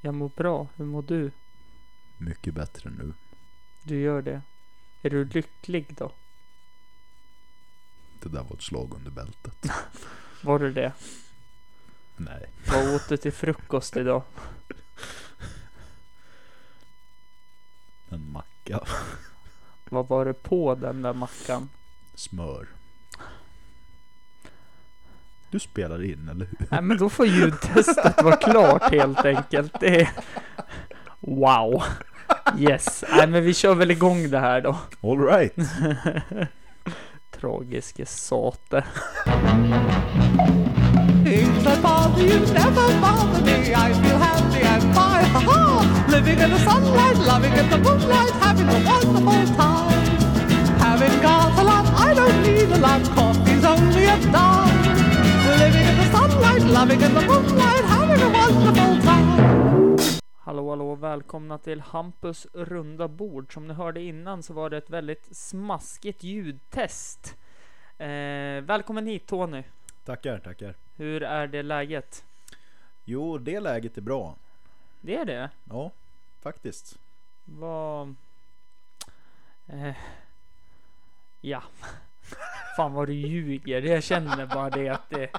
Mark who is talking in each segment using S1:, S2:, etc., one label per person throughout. S1: Jag mår bra. Hur mår du?
S2: Mycket bättre nu.
S1: Du gör det. Är du lycklig då?
S2: Det där var ett slag under bältet.
S1: Var du det?
S2: Nej.
S1: Vad åt du till frukost idag?
S2: En macka.
S1: Vad var det på den där mackan?
S2: Smör. Du spelar in eller hur?
S1: Nej men då får ljudtestet vara klart helt enkelt. Det är... Wow. Yes. Nej men vi kör väl igång det här då.
S2: All right.
S1: Tragiske sate.
S3: Things that bother you never bother me. I feel happy and fine. Ha ha! Living in the sunlight, loving in the moonlight, having a wonderful time. Having got a lot, I don't need a lot. Coffee's only a dime. Living in the sunlight, loving in the moonlight, having a wonderful time.
S1: Hallå hallå välkomna till Hampus runda bord. Som ni hörde innan så var det ett väldigt smaskigt ljudtest. Eh, välkommen hit Tony.
S2: Tackar, tackar.
S1: Hur är det läget?
S2: Jo, det läget är bra.
S1: Det är det.
S2: Ja, faktiskt.
S1: Vad... Eh, ja. Fan vad du ljuger. Jag känner bara det att det...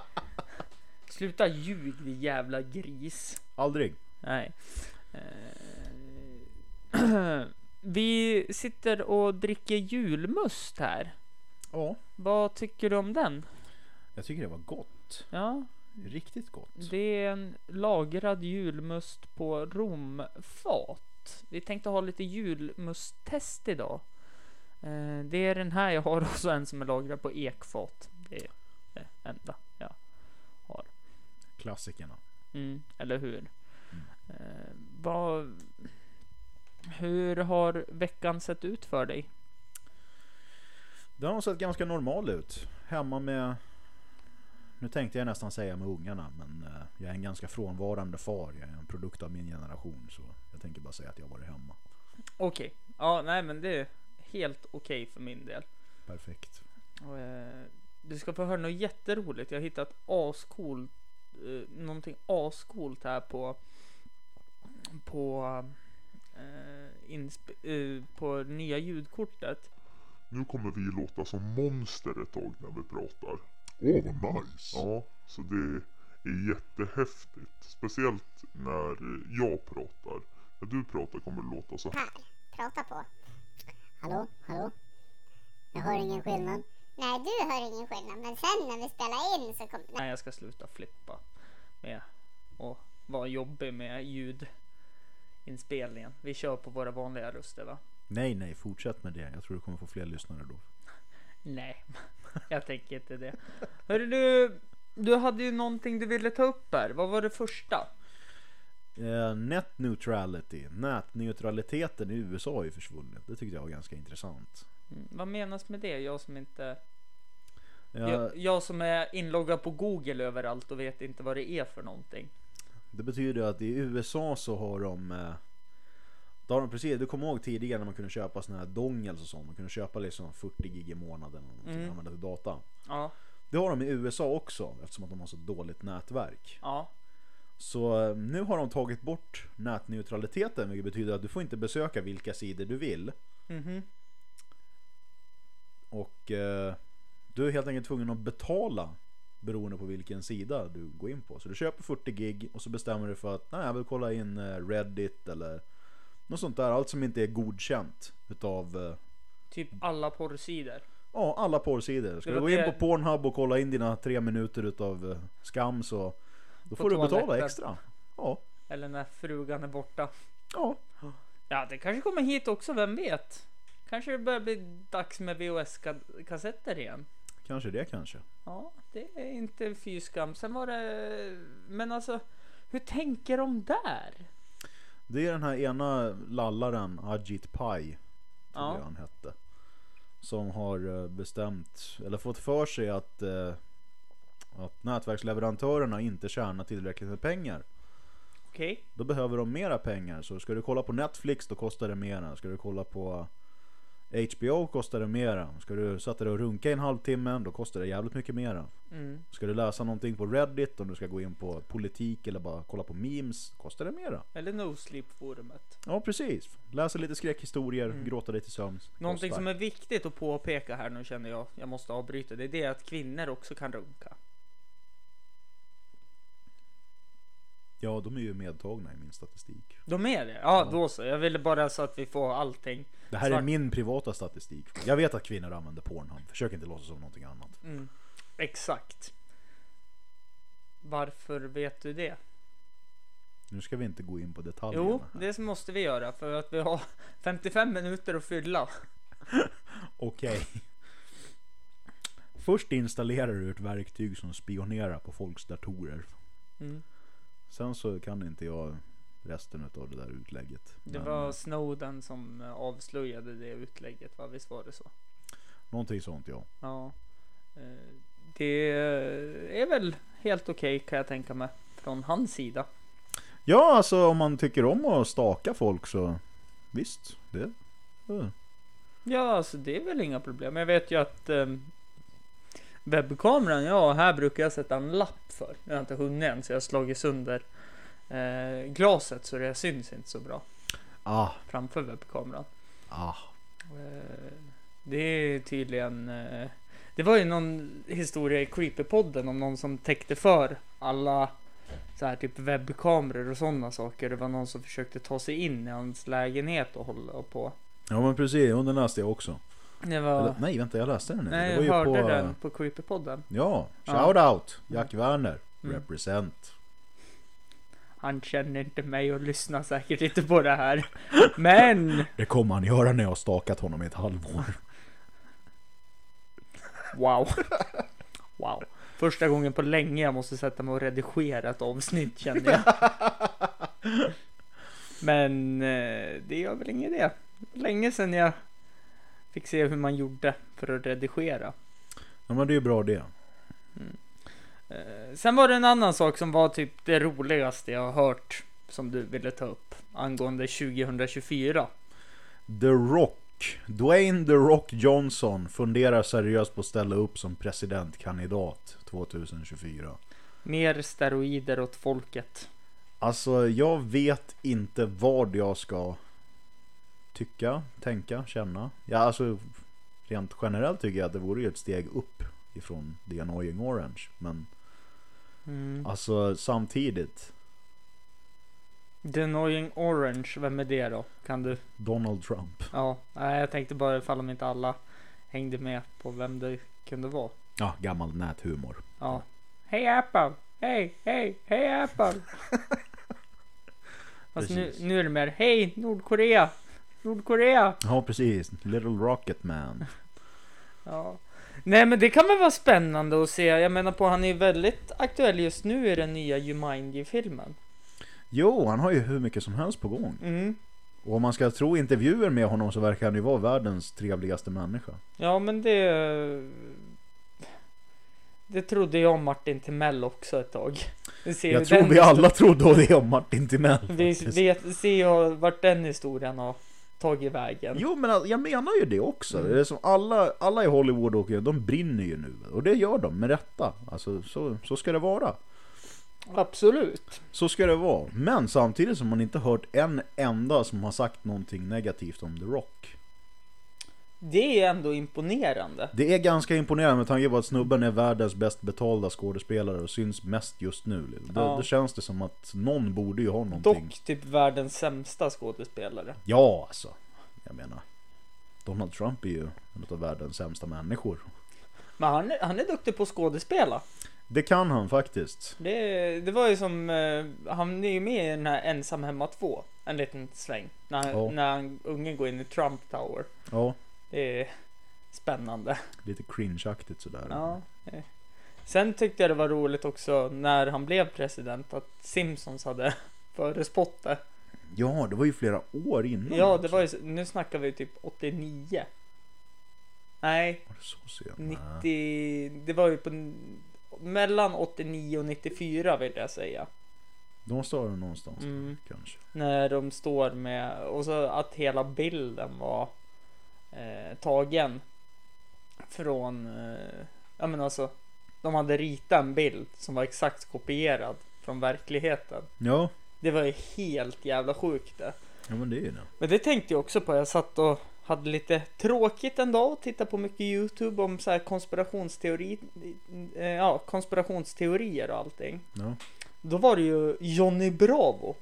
S1: Sluta ljug din jävla gris.
S2: Aldrig.
S1: Nej. Eh, Vi sitter och dricker julmust här.
S2: Ja,
S1: Vad tycker du om den?
S2: jag tycker det var gott.
S1: Ja,
S2: Riktigt gott.
S1: det är en lagrad julmust på romfat. Vi tänkte ha lite julmusttest idag. Eh, Det är den här jag har och så en som är lagrad på ekfat. Det är det enda jag har.
S2: Klassikerna.
S1: Mm, eller hur? Eh, vad, hur har veckan sett ut för dig?
S2: Den har sett ganska normal ut. Hemma med... Nu tänkte jag nästan säga med ungarna, men eh, jag är en ganska frånvarande far. Jag är en produkt av min generation, så jag tänker bara säga att jag har varit hemma.
S1: Okej, ja, nej, men det är helt okej för min del.
S2: Perfekt.
S1: Och, eh, Du ska få höra något jätteroligt. Jag har hittat ascoolt, eh, någonting ascoolt här på på eh, insp- eh, på nya ljudkortet.
S4: Nu kommer vi låta som monster ett tag när vi pratar.
S5: Åh, vad nice!
S4: Ja, så det är jättehäftigt. Speciellt när jag pratar. När du pratar kommer det låta så här.
S6: här. Prata på. Hallå, hallå? Jag hör ingen skillnad. Nej, du hör ingen skillnad, men sen när vi spelar in så kommer...
S1: Nej, jag ska sluta flippa med och vara jobbig med ljudinspelningen. Vi kör på våra vanliga röster va?
S2: Nej, nej, fortsätt med det. Jag tror du kommer få fler lyssnare då.
S1: Nej, jag tänker inte det. Hörru du, du hade ju någonting du ville ta upp här. Vad var det första?
S2: Eh, net neutrality. Nätneutraliteten i USA är ju försvunnen. Det tyckte jag var ganska intressant.
S1: Mm, Vad menas med det? Jag som inte...
S2: Eh,
S1: Jag, jag som är inloggad på Google överallt och vet inte vad det är för någonting.
S2: Det betyder att i USA så har de... eh, Då har de precis, du kommer ihåg tidigare när man kunde köpa såna här dongels och sånt. Man kunde köpa liksom 40 gig i månaden och någonting
S1: Mm.
S2: och använda till data.
S1: Ja,
S2: Det har de i USA också eftersom att de har så dåligt nätverk.
S1: ja.
S2: Så eh, nu har de tagit bort nätneutraliteten vilket betyder att du får inte besöka vilka sidor du vill.
S1: Mhm.
S2: Och eh, du är helt enkelt tvungen att betala beroende på vilken sida du går in på. Så du köper 40 gig och så bestämmer du för att nej, jag vill kolla in eh, Reddit eller något sånt där. Allt som inte är godkänt utav eh,
S1: Typ alla porrsidor.
S2: ja, alla porrsidor. Ska
S1: Det
S2: du
S1: var
S2: gå in
S1: det-
S2: på Pornhub och kolla in dina tre minuter utav eh, skam så då får du betala
S1: toaletten.
S2: extra. Ja,
S1: Eller när frugan är borta.
S2: ja.
S1: Ja, det kanske kommer hit också, vem vet? Kanske det börjar bli dags med VHS-kassetter igen.
S2: Kanske det kanske.
S1: Ja, det är inte fy skam. Sen var det... Men alltså, hur tänker de där?
S2: Det är den här ena lallaren, Ajit Pai, tror
S1: Ja.
S2: jag han hette. Som har eh, bestämt, eller fått för sig att, eh, att nätverksleverantörerna inte tjänar tillräckligt med pengar.
S1: Okej.
S2: Då behöver de mera pengar. Så ska du kolla på Netflix då kostar det mera. Ska du kolla på HBO kostar det mera. Ska du sätta dig och runka i en halvtimme, då kostar det jävligt mycket mera.
S1: Mm.
S2: Ska du läsa någonting på Reddit, om du ska gå in på politik eller bara kolla på memes, kostar det mera.
S1: Eller no sleep-forumet.
S2: Ja, precis. Läsa lite skräckhistorier, gråta lite sömns.
S1: Mm. Någonting
S2: kostar.
S1: som är viktigt att påpeka här nu känner jag, jag måste avbryta, det är det att kvinnor också kan runka.
S2: Ja, de är ju medtagna i min statistik.
S1: De är det? Ja, då så. Jag ville bara så att vi får allting.
S2: Det här är
S1: Svart.
S2: min privata statistik. Jag vet att kvinnor använder Pornhub, försök inte låtsas som någonting annat.
S1: Mm. Exakt. Varför vet du det?
S2: Nu ska vi inte gå in på detaljerna.
S1: Jo,
S2: här.
S1: det måste vi göra för att vi har 55 minuter att fylla.
S2: Okej. Först installerar du ett verktyg som spionerar på folks datorer.
S1: Mm.
S2: Sen så kan inte jag resten av det där utlägget.
S1: Det
S2: Men
S1: var Snowden som eh, avslöjade det utlägget, va? Visst var det så?
S2: Någonting sånt ja.
S1: Ja. Eh, Det är väl helt okej kan jag tänka mig. Från hans sida.
S2: Ja, alltså om man tycker om att staka folk så visst. Det. eh.
S1: Ja, alltså det är väl inga problem. Jag vet ju att eh, webbkameran, ja, här brukar jag sätta en lapp för. Jag har inte hunnit än, så jag har slagit sönder eh, glaset så det syns inte så bra
S2: Ah,
S1: framför webbkameran.
S2: ah.
S1: Eh, det är tydligen... Eh, det var ju någon historia i Creepypodden om någon som täckte för alla så här, typ webbkameror och sådana saker. Det var någon som försökte ta sig in i hans lägenhet och hålla på.
S2: Ja men precis, och den läste jag också.
S1: Det var...
S2: Eller, nej vänta, jag läste den inte.
S1: Nej,
S2: det
S1: jag
S2: var
S1: hörde
S2: ju på...
S1: den på Creepypodden.
S2: Ja,
S1: Ja. Mm.
S2: shout out Jack Werner. Represent.
S1: Han känner inte mig och lyssnar säkert inte på det här. Men!
S2: Det kommer han göra när jag har stakat honom i ett halvår.
S1: Wow. Wow. Första gången på länge jag måste sätta mig och redigera ett avsnitt känner jag. Men eh, det gör väl ingen idé. Länge sedan jag fick se hur man gjorde för att redigera.
S2: Ja men det är ju bra det.
S1: Eh, Sen var det en annan sak som var typ det roligaste jag har hört som du ville ta upp angående 2024.
S2: The Rock. Dwayne The Rock Johnson funderar seriöst på att ställa upp som presidentkandidat 2024.
S1: Mer steroider åt folket.
S2: Alltså jag vet inte vad jag ska tycka, tänka, känna. Ja, alltså rent generellt tycker jag att det vore ju ett steg upp ifrån The Annoying Orange. Men
S1: Mm.
S2: alltså samtidigt,
S1: The Annoying Orange, vem är det då? Kan du?
S2: Donald Trump.
S1: Ja, nej, jag tänkte bara ifall om inte alla hängde med på vem det kunde vara.
S2: Ja, gammal näthumor.
S1: Ja. Hej Apple! Hej, hej, hej Apple! Fast nu,
S2: Precis.
S1: nu är det mer Hej Nordkorea! Nordkorea!
S2: Ja, precis. Little Rocket Man.
S1: Ja. Nej men det kan väl vara spännande att se. Jag menar på han är ju väldigt aktuell just nu i den nya Jumanji-filmen.
S2: Jo, han har ju hur mycket som helst på gång.
S1: Mm.
S2: Och om man ska tro intervjuer med honom så verkar han ju vara världens trevligaste människa.
S1: Ja men det... Det trodde jag om Martin Timell också ett tag. Vi ser hur
S2: Jag tror
S1: den
S2: vi alla trodde då det om Martin Timell.
S1: Vi
S2: faktiskt.
S1: vet, ser ju vart den historien har tagit vägen.
S2: Jo men alltså, jag menar ju det också.
S1: Mm.
S2: Det är som alla, alla i Hollywood och de brinner ju nu. Och det gör de med rätta. Alltså, så, så ska det vara.
S1: Absolut.
S2: Så ska det vara. Men samtidigt som man inte hört en enda som har sagt någonting negativt om The Rock.
S1: Det är ändå imponerande.
S2: Det är ganska imponerande med tanke på att snubben är världens bäst betalda skådespelare och syns mest just nu. Det,
S1: Ja.
S2: det känns det som att någon borde ju ha någonting.
S1: Dock typ världens sämsta skådespelare.
S2: Ja, alltså. Jag menar. Donald Trump är ju en av världens sämsta människor.
S1: Men han, är- han är duktig på att skådespela.
S2: Det kan han faktiskt.
S1: Det, det var ju som, eh, han är ju med i den här Ensam hemma 2. En liten sväng. När, han-
S2: Ja.
S1: när han, ungen går in i Trump Tower.
S2: Ja,
S1: Det är spännande.
S2: lite cringeaktigt sådär.
S1: Ja. eh. Sen tyckte jag det var roligt också när han blev president att Simpsons hade förespått det.
S2: ja, det var ju flera år innan.
S1: Ja, det
S2: också.
S1: var ju, nu snackar vi typ 89. Nej,
S2: Var det så sent? Nej.
S1: 90, det var ju på n- mellan 89 och 94 vill jag säga.
S2: De står det någonstans där,
S1: Mm.
S2: kanske.
S1: När de står med, och så att hela bilden var eh, tagen från, eh, ja men alltså, de hade ritat en bild som var exakt kopierad från verkligheten.
S2: Ja,
S1: Det var ju helt jävla sjukt det.
S2: ja men det är ju det.
S1: Men det tänkte jag också på. Jag satt och hade lite tråkigt en dag och tittade på mycket Youtube om så här konspirationsteori, eh, ja, konspirationsteorier och allting.
S2: Ja.
S1: Då var det ju Johnny Bravo.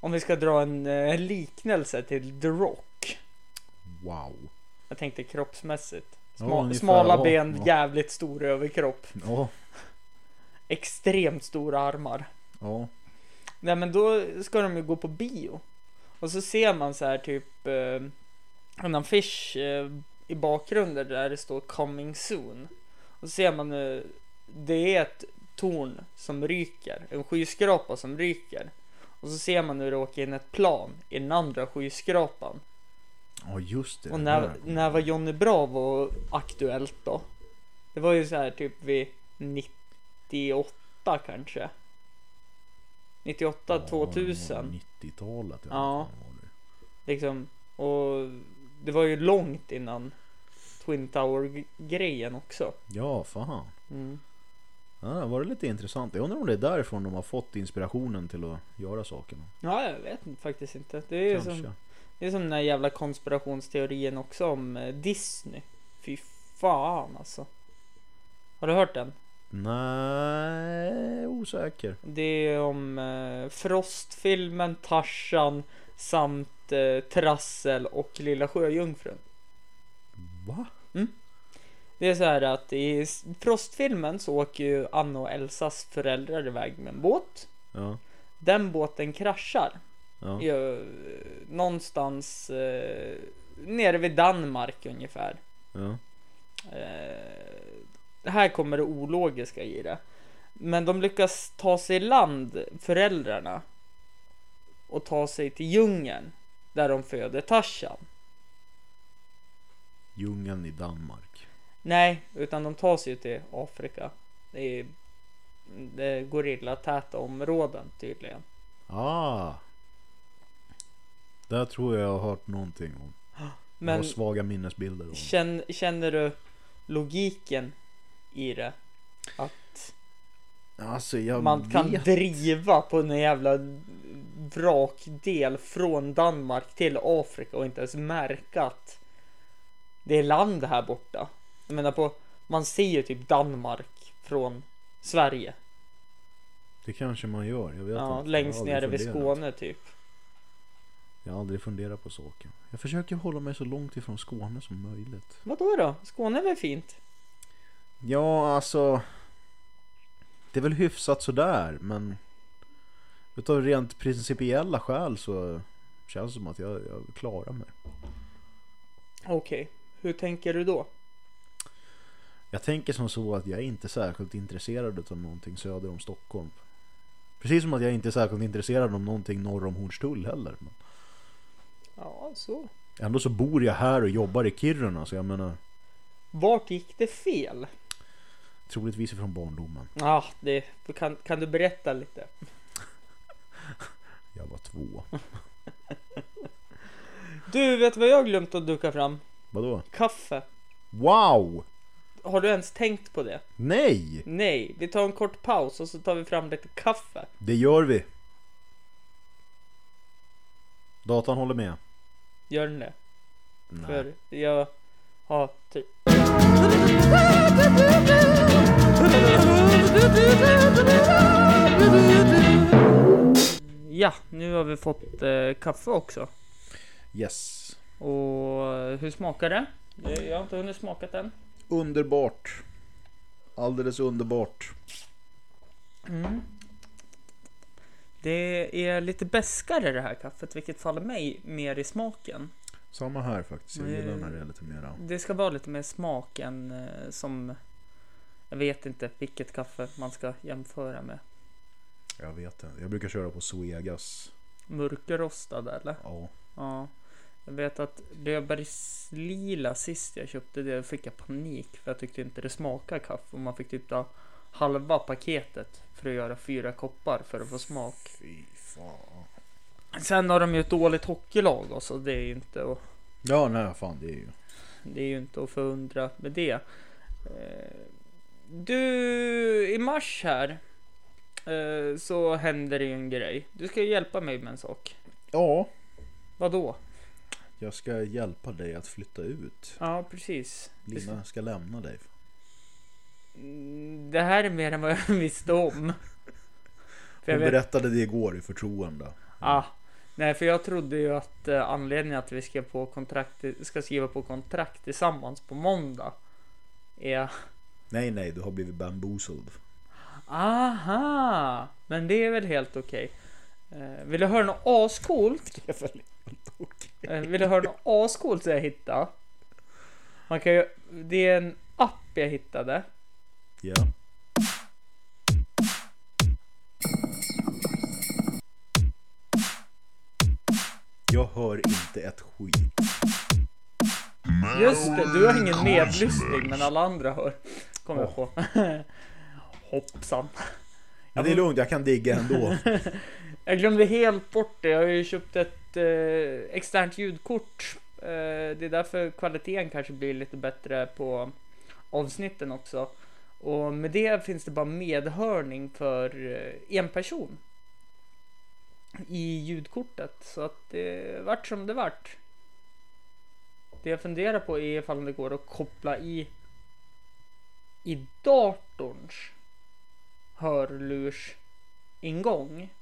S1: Om vi ska dra en eh, liknelse till The Rock.
S2: Wow.
S1: Jag tänkte kroppsmässigt.
S2: Ja,
S1: Sma,
S2: ungefär,
S1: smala
S2: ja,
S1: ben,
S2: ja.
S1: jävligt stor överkropp,
S2: Ja,
S1: extremt stora armar.
S2: ja.
S1: Nej men då ska de ju gå på bio. Och så ser man så här typ eh, en affisch eh, i bakgrunden där det står coming soon. Och så ser man eh, det är ett torn som ryker, en skyskrapa som ryker. Och så ser man hur det åker in ett plan i den andra skyskrapan.
S2: Ja just det.
S1: Och
S2: det
S1: när,
S2: där kom-
S1: när var Johnny Bravo aktuellt då? Det var ju så här typ vid 98 kanske. 98,
S2: Ja,
S1: 2000.
S2: 90-talet.
S1: Ja.
S2: vad var det?
S1: Liksom, och det var ju långt innan Twin Tower-grejen också.
S2: Ja, fan.
S1: Mm.
S2: Ja, var det lite intressant? Jag undrar om det är därifrån de har fått inspirationen till att göra sakerna.
S1: Ja, jag vet inte- faktiskt inte. Det är,
S2: Kanske.
S1: som, det är som den här jävla konspirationsteorin också om eh, Disney. Fy fan alltså. Har du hört den?
S2: Nej, osäker.
S1: Det är om eh, Frostfilmen, Tarzan samt eh, Trassel och Lilla Sjöjungfrun.
S2: Va?
S1: Det är så här att i s- Frostfilmen så åker ju Anna och Elsas föräldrar iväg med en båt.
S2: Ja,
S1: Den båten kraschar
S2: ja, ja.
S1: ju, eh, någonstans eh, nere vid Danmark ungefär.
S2: ja.
S1: Eh, här kommer det ologiska i det. Men de lyckas ta sig i land, föräldrarna, och ta sig till djungeln där de föder Tarzan.
S2: Djungeln i Danmark.
S1: Nej, utan de tar sig ju till Afrika. Det är, det är gorillatäta områden tydligen.
S2: Ah! Där tror jag jag har hört någonting om. Jag har
S1: Men
S2: svaga minnesbilder. Om.
S1: Känn, känner du logiken i det? Att
S2: Alltså jag
S1: man kan
S2: vet...
S1: driva på en jävla vrakdel från Danmark till Afrika och inte ens märka att det är land här borta. Jag menar på, man ser ju typ Danmark från Sverige.
S2: Det kanske man gör. Jag vet inte.
S1: Ja,
S2: Jag
S1: längst
S2: har aldrig
S1: nere vid
S2: funderat.
S1: Skåne typ.
S2: Jag har aldrig funderat på saken. Jag försöker hålla mig så långt ifrån Skåne som möjligt.
S1: Vadå då? Skåne är väl fint?
S2: Ja, alltså. Det är väl hyfsat sådär, men. Utav rent principiella skäl så känns det som att jag, jag klarar mig.
S1: Okej, hur tänker du då?
S2: Jag tänker som så att jag är inte särskilt intresserad av någonting söder om Stockholm. Precis som att jag inte är särskilt intresserad av någonting norr om Hornstull heller. Men
S1: Ja, så.
S2: ändå så bor jag här och jobbar i Kiruna, så jag menar
S1: Vart gick det fel?
S2: troligtvis från barndomen.
S1: Ah, det, kan, kan du berätta lite?
S2: Jag var två.
S1: Du, vet vad jag har glömt att duka fram?
S2: Vadå?
S1: Kaffe.
S2: Wow!
S1: Har du ens tänkt på det?
S2: Nej!
S1: Nej, vi tar en kort paus och så tar vi fram lite kaffe.
S2: Det gör vi. Datan håller med.
S1: Gör den det?
S2: Nej.
S1: För jag har typ... Ja, nu har vi fått eh, kaffe också.
S2: Yes.
S1: Och eh, hur smakar det? Jag- Jag har inte hunnit smakat än.
S2: Underbart. Alldeles underbart.
S1: Det är lite beskare det här kaffet, vilket faller mig mer i smaken.
S2: Samma här faktiskt. Jag
S1: Nej.
S2: gillar när det är lite mera.
S1: Det ska vara lite mer smak än eh, som... Jag vet inte vilket kaffe man ska jämföra med.
S2: Jag vet inte. Jag brukar köra på Suegas.
S1: Mörkerrostad eller?
S2: Ja.
S1: Ja. Jag vet att rödbergslila sist jag köpte det fick jag panik för jag tyckte inte det smakade kaffe och man fick typ ta halva paketet för att göra fyra koppar för att få smak.
S2: Fy fan.
S1: Sen har de ju ett dåligt hockeylag och så det är ju inte att
S2: Ja, nej fan det är ju...
S1: Det är ju inte att förundra med det. Eh, Du, i mars här eh, så händer det ju en grej. Du ska ju hjälpa mig med en sak.
S2: Ja,
S1: Vadå?
S2: jag ska hjälpa dig att flytta ut.
S1: Ja, precis.
S2: Lina ska lämna dig.
S1: Mm, Det här är mer än vad jag visste om. För
S2: Hon
S1: jag vet-
S2: berättade det igår i förtroende.
S1: Ah, nej, för jag trodde ju att eh, anledningen att vi ska, på kontrakt, ska skriva på kontrakt tillsammans på måndag är...
S2: Nej, nej, du har blivit bamboozled.
S1: Aha! Men det är väl helt okej. Eh, vill du höra något ascoolt?
S2: Det är väl helt okej.
S1: Eh, vill du höra något ascoolt som jag hittade? Man kan ju, det är en app jag hittade.
S2: Ja. Jag hör inte ett skit.
S1: Just det, du har ingen nedlyssning men alla andra hör. Kommer jag på. Hoppsan.
S2: Men det är lugnt, jag kan digga ändå.
S1: Jag glömde helt bort det. Jag har ju köpt ett eh, externt ljudkort. Eh, det är därför kvaliteten kanske blir lite bättre på avsnitten också. Och med det finns det bara medhörning för eh, en person. I ljudkortet. Så att det vart som det vart. Det jag funderar på är ifall det går att koppla i i datorns hörlurs ingång.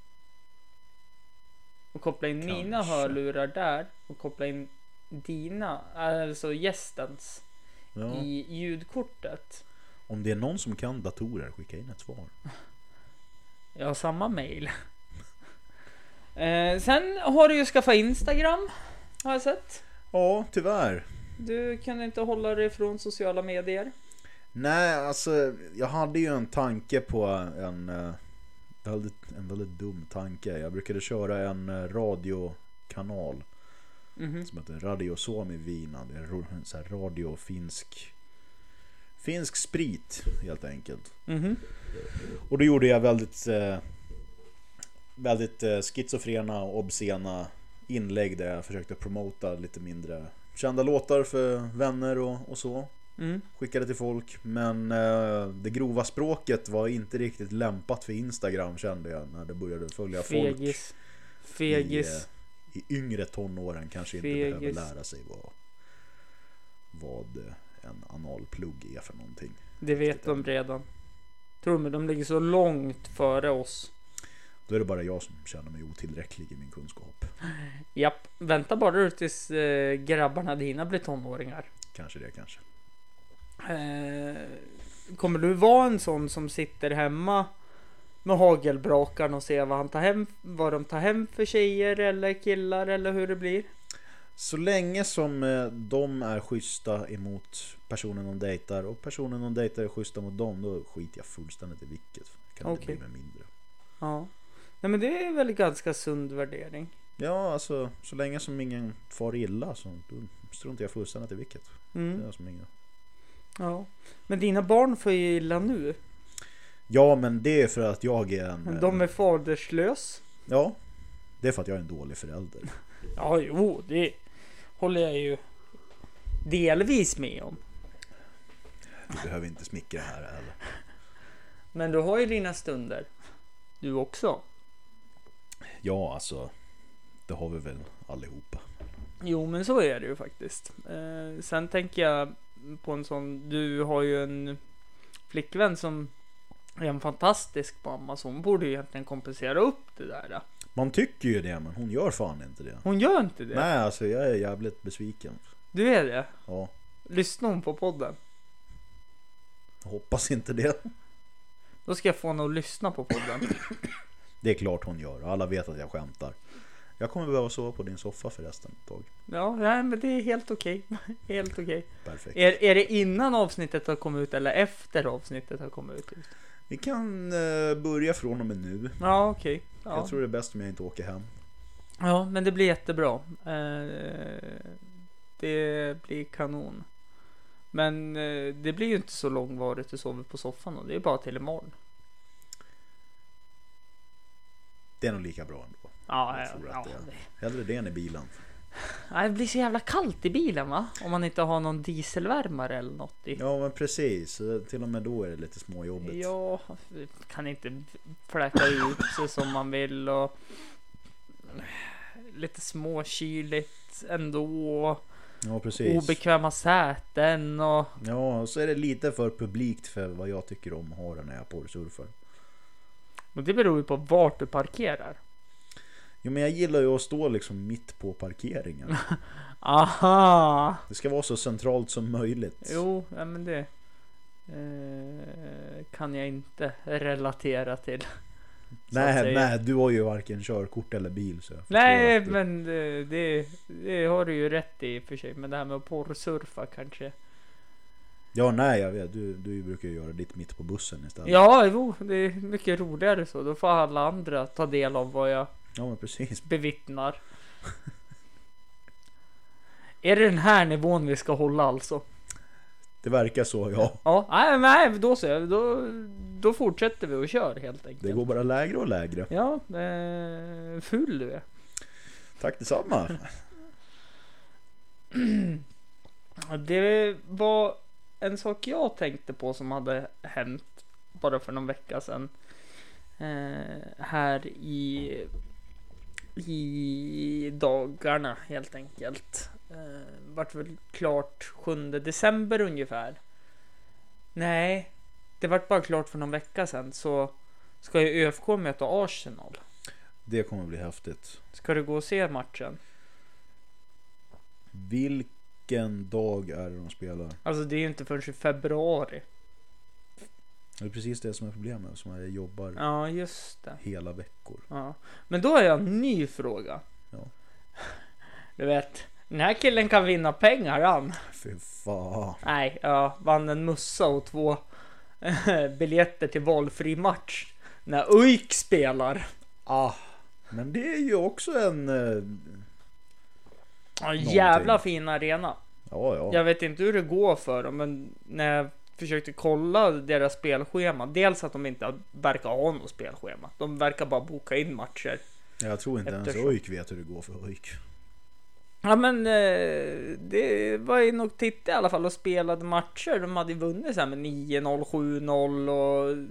S1: Och koppla in mina
S2: Kanske.
S1: hörlurar där och koppla in dina, alltså gästens,
S2: Ja.
S1: i ljudkortet.
S2: Om det är någon som kan datorer, skicka in ett svar.
S1: Jag har samma mail. eh, sen har du ju skaffat Instagram, har jag sett.
S2: Ja, tyvärr.
S1: Du kan inte hålla dig från sociala medier.
S2: Nej, alltså jag hade ju en tanke på en eh, väldigt, en väldigt dum tanke. Jag brukade köra en eh, radiokanal som heter Radio Suomi Vina. Det är ro- så här radio finsk, finsk sprit helt enkelt.
S1: Mhm.
S2: Och då gjorde jag väldigt, eh, väldigt eh, schizofrena och obscena inlägg där jag försökte promota lite mindre kända låtar för vänner och, och så
S1: Mm.
S2: skickade till folk men eh, det grova språket var inte riktigt lämpat för Instagram kände jag när det började följa folk eh,
S1: Fegis. Fegis.
S2: i yngre tonåren kanske inte
S1: Fegis.
S2: behöver lära sig vad, vad eh, en analplugg är för någonting.
S1: Det vet de redan. Tror mig, de ligger så långt före oss.
S2: Då är det bara jag som känner mig otillräcklig i min kunskap.
S1: Japp, vänta bara du tills eh, grabbarna dina blir tonåringar.
S2: Kanske det kanske.
S1: Eh, kommer du vara en sån som sitter hemma med hagelbrakaren och ser vad, han tar hem, vad de tar hem för tjejer eller killar eller hur det blir?
S2: Så länge som eh, de är schyssta emot personen de dejtar och personen de dejtar är schyssta mot dem då skiter jag fullständigt i vilket. Kan inte
S1: Okej.
S2: bli mig mindre.
S1: Ja. Nej men det är väl ganska sund värdering.
S2: Ja, alltså så länge som ingen far illa så då struntar jag fullständigt i vilket. Det
S1: Mm,
S2: är som inga...
S1: ja. Men dina barn får ju illa nu.
S2: Ja, men det är för att jag är en...
S1: Men de är faderslös.
S2: Ja, det är för att jag är en dålig förälder.
S1: Ja, jo, det håller jag ju delvis med om.
S2: Du behöver inte smickra här heller.
S1: Men du har ju dina stunder. Du också.
S2: Ja, alltså. Det har vi väl allihopa.
S1: Jo, men så är det ju faktiskt. Eh, sen tänker jag på en sån, du har ju en flickvän som är en fantastisk mamma, så hon borde ju egentligen kompensera upp det där.
S2: Man tycker ju det, men hon gör fan inte det.
S1: Hon gör inte det.
S2: Nej, alltså jag är jävligt besviken.
S1: Du är det.
S2: Ja,
S1: Lyssnar hon på podden?
S2: jag hoppas inte det.
S1: Då ska jag få henne att lyssna på podden.
S2: Det är klart hon gör. Alla vet att jag skämtar. Jag kommer behöva sova på din soffa förresten ett tag.
S1: Ja, nej, men det är helt okej. Helt okej.
S2: Perfekt.
S1: Är, är det innan avsnittet har kommit ut eller efter avsnittet har kommit ut?
S2: Vi kan eh, börja från och med nu.
S1: Ja, okej. Ja.
S2: Jag tror det är bäst om jag inte åker hem.
S1: Ja, men det blir jättebra. Eh, det blir kanon. Men eh, det blir ju inte så långvarigt du sover på soffan och det är bara till imorgon.
S2: Det är nog lika bra ändå.
S1: Ja,
S2: Jag
S1: ja,
S2: tror
S1: ja,
S2: att det är. Hellre det än i bilen.
S1: Ja, Det blir så jävla kallt i bilen va? Om man inte har någon dieselvärmare eller något i.
S2: Ja men precis, Så till och med då är det lite småjobbigt.
S1: Ja, kan inte fläka ut sig som man vill och lite småkyligt ändå.
S2: Ja, precis.
S1: Obekväma säten och
S2: Ja, och så är det lite för publikt för vad jag tycker om att ha det när jag porrsurfar.
S1: Men det beror ju på vart du parkerar.
S2: Jo men jag gillar ju att stå liksom mitt på parkeringen.
S1: Aha!
S2: Det ska vara så centralt som möjligt.
S1: Jo, nej men det eh, kan jag inte relatera till. så att
S2: nej,
S1: säga.
S2: nej, du har ju varken körkort eller bil så jag förstår
S1: Nej,
S2: att du-
S1: men eh, det, det har du ju rätt i i och för sig. Men det här med att porrsurfa kanske.
S2: Ja, nej jag vet. Du, du brukar ju göra ditt mitt på bussen istället.
S1: Ja, jo, det är mycket roligare så. Då får alla andra ta del av vad jag
S2: Ja, men precis.
S1: bevittnar. Är det den här nivån vi ska hålla alltså?
S2: Det verkar så ja.
S1: Ja, nej, nej då så. Då, då fortsätter vi och kör helt enkelt.
S2: Det går bara lägre och lägre.
S1: Ja, eh, ful du är.
S2: Tack detsamma.
S1: Det var en sak jag tänkte på som hade hänt bara för någon vecka sedan. Eh, här i, i dagarna helt enkelt. Eh, vart väl klart 7 december ungefär. Nej, det vart bara klart för någon vecka sedan så ska ju ÖFK möta Arsenal.
S2: Det kommer bli häftigt.
S1: Ska du gå och se matchen?
S2: Vilken dag är det de spelar?
S1: Alltså det är ju inte förrän i februari.
S2: Det är precis det som är problemet. Som jag jobbar
S1: Ja, just det.
S2: hela veckor.
S1: Ja. Men då har jag en ny fråga.
S2: Ja.
S1: Du vet, den här killen kan vinna pengar han.
S2: Fy fan.
S1: Nej, jag vann en mussa och två biljetter till valfri match. När UIK spelar.
S2: Ah. Men det är ju också en... eh,
S1: Ja, Jävla fin arena.
S2: Ja, ja.
S1: Jag vet inte hur det går för dem, men när jag försökte kolla deras spelschema. Dels att de inte verkar ha något spelschema. De verkar bara boka in matcher.
S2: Jag tror inte ens
S1: Eftersom-
S2: ÖIK vet hur det går för ÖIK.
S1: Ja men eh, det var ju nog titta i alla fall och spelade matcher. De hade ju vunnit så här med 9-0, 7-0 och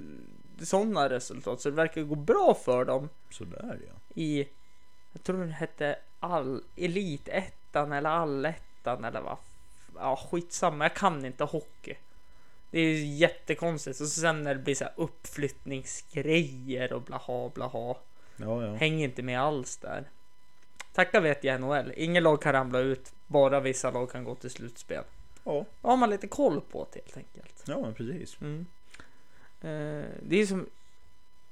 S1: sådana resultat. Så det verkar gå bra för dem
S2: Sådär ja.
S1: i, jag tror den hette all, Elitettan eller Allettan eller vad. f- Ja skitsamma, jag kan inte hockey. Det är ju jättekonstigt. Och så sen när det blir så här uppflyttningsgrejer och blaha blaha.
S2: Ja, ja.
S1: Häng inte med alls där. Tacka vet jag NHL. Inget lag kan ramla ut. Bara vissa lag kan gå till slutspel.
S2: Ja,
S1: Då har man lite koll på det helt enkelt.
S2: ja men precis.
S1: Mm. Eh, det är som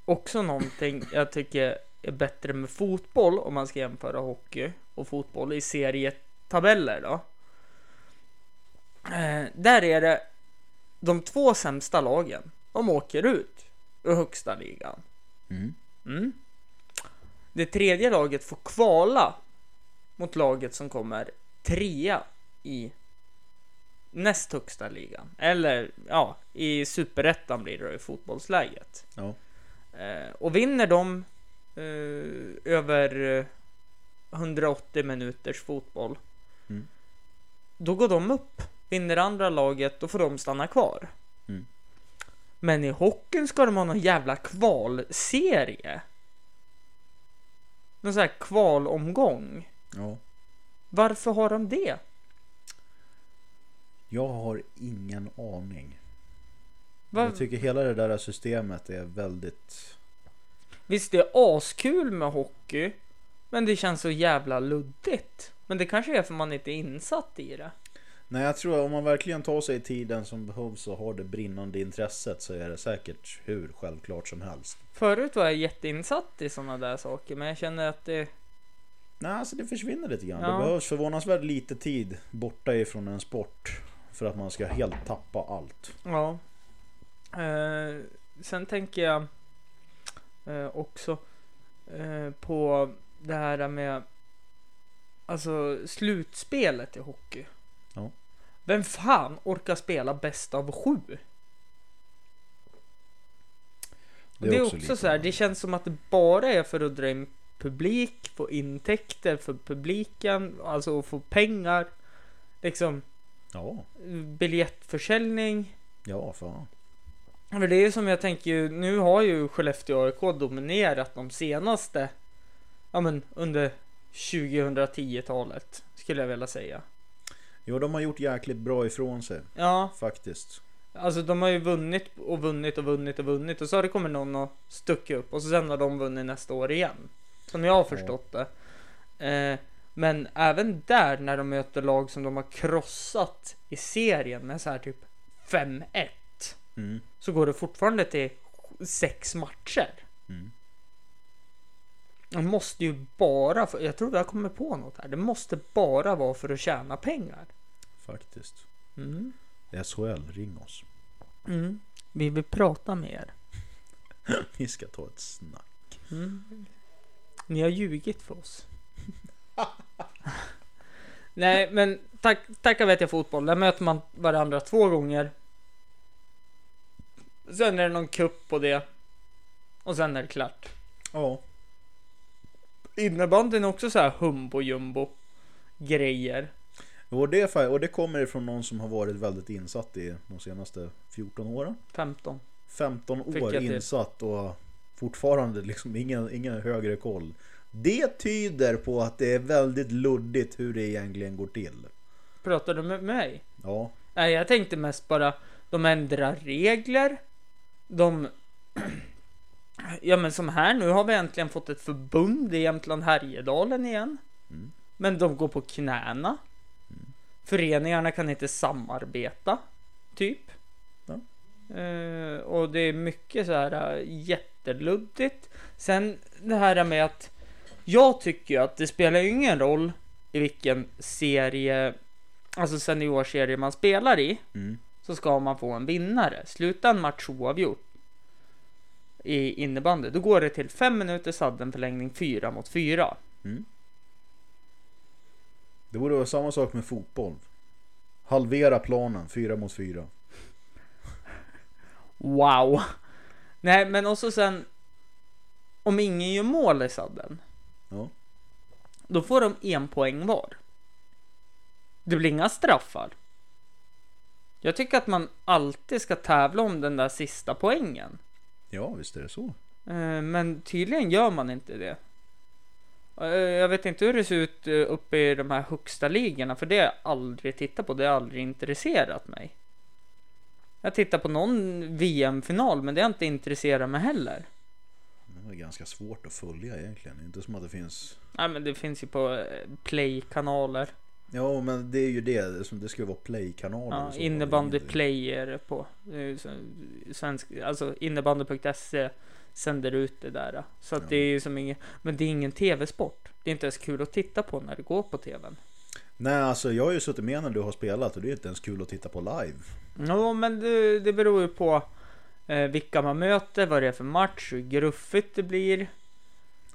S1: också någonting jag tycker är bättre med fotboll om man ska jämföra hockey och fotboll i serietabeller då. Eh, där är det de två sämsta lagen. De åker ut ur högsta ligan.
S2: Mm.
S1: Mm. Det tredje laget får kvala mot laget som kommer trea i näst högsta ligan. Eller ja, i superettan blir det då i fotbollsläget.
S2: Ja.
S1: Eh, och vinner de eh, över eh, 180 minuters fotboll.
S2: Mm.
S1: Då går de upp. Vinner andra laget, då får de stanna kvar.
S2: Mm.
S1: Men i hockeyn ska de ha någon jävla kvalserie. Någon sån här kvalomgång.
S2: ja.
S1: Varför har de det?
S2: Jag har ingen aning.
S1: Var...
S2: Jag tycker hela det där systemet är väldigt...
S1: Visst, det är askul med hockey, men det känns så jävla luddigt. Men det kanske är för man inte är insatt i det.
S2: Nej, jag tror att om man verkligen tar sig tiden som behövs och har det brinnande intresset så är det säkert hur självklart som helst.
S1: Förut var jag jätteinsatt i sådana där saker, men jag känner att det...
S2: Nej, alltså det försvinner lite grann.
S1: Ja.
S2: Det behövs förvånansvärt lite tid borta ifrån en sport för att man ska helt tappa allt.
S1: Ja. Eh, sen tänker jag eh, också eh, på det här med alltså slutspelet i hockey.
S2: Ja.
S1: Vem fan orkar spela bäst av sju? Det är, också,
S2: lite-
S1: så här, det känns som att det bara är för att dra in publik, få intäkter för publiken, alltså få pengar. Liksom
S2: Ja,
S1: biljettförsäljning.
S2: ja fan.
S1: För det är ju som jag tänker ju, nu har ju Skellefteå AIK dominerat de senaste, ja men under 2010-talet skulle jag vilja säga.
S2: Jo, de har gjort jäkligt bra ifrån sig
S1: Ja,
S2: faktiskt.
S1: Alltså de har ju vunnit och vunnit och vunnit och vunnit och så har det kommit någon och stuckit upp och så sen har de vunnit nästa år igen. Som jag har förstått det. Eh, men även där när de möter lag som de har krossat i serien med så här typ 5-1
S2: Mm.
S1: så går det fortfarande till sex matcher.
S2: Mm.
S1: Det måste ju bara, för, jag tror jag kommer på något här, det måste bara vara för att tjäna pengar.
S2: Faktiskt.
S1: Mm.
S2: SHL, ring oss.
S1: Mm. Vi vill prata med er.
S2: Vi ska ta ett snack.
S1: Ni har ljugit för oss. Nej, men tack, tacka vet jag fotboll. Där möter man varandra två gånger. Sen är det någon kupp på det. Och sen är det klart.
S2: Ja.
S1: Innebandyn är också så här humbo jumbo grejer.
S2: Och det, är fa- och det kommer ifrån någon som har varit väldigt insatt i de senaste 14 åren.
S1: 15.
S2: 15
S1: Fick jag typ-
S2: år
S1: till.
S2: insatt och fortfarande liksom ingen, ingen högre koll. Det tyder på att det är väldigt luddigt hur det egentligen går till.
S1: Pratar du med mig?
S2: Ja,
S1: Nej, jag tänkte mest bara de ändrar regler. De... ja, men som här nu har vi äntligen fått ett förbund i Jämtland Härjedalen igen. Men de går på knäna. Föreningarna kan inte samarbeta. Typ.
S2: Ja.
S1: Eh, och det är mycket så här eh, jätteluddigt. Sen det här med att jag tycker ju att det spelar ju ingen roll i vilken serie alltså seniorserie man spelar i
S2: Mm.
S1: så ska man få en vinnare. Slutar en match oavgjort i innebandy, då går det till fem minuter sadden förlängning fyra mot fyra.
S2: det borde vara samma sak med fotboll. Halvera planen, fyra mot fyra.
S1: Wow! Nej, men också sen om ingen gör mål i sadden,
S2: Ja.
S1: då får de en poäng var. Det blir inga straffar. Jag tycker att man alltid ska tävla om den där sista poängen.
S2: ja, visst är det så.
S1: Eh, Men tydligen gör man inte det. Eh, Jag vet inte hur det ser ut eh, uppe i de här högsta ligorna, för det har jag aldrig tittat på. Det har aldrig intresserat mig. Jag tittar på någon VM-final, men det har inte intresserat mig heller.
S2: Det är ganska svårt att följa egentligen. Det är Inte som att det finns...
S1: Nej, men det finns ju på eh, play-kanaler.
S2: Ja, men det är ju det. det är som- Det ska ju vara play-kanaler.
S1: Ja,
S2: och så.
S1: innebandy
S2: Det är-
S1: play är det på. Det är ju så- Svensk, alltså innebandy.se E sänder ut det där. eh. Så att det är ju som ingen, men det är ingen tv-sport. Det är inte ens kul att titta på när det går på tvn.
S2: Nej, alltså jag har ju suttit med när du har spelat och det är inte ens kul att titta på live.
S1: Ja, men det, det beror ju på eh, vilka man möter, vad det är för match, hur gruffigt det blir.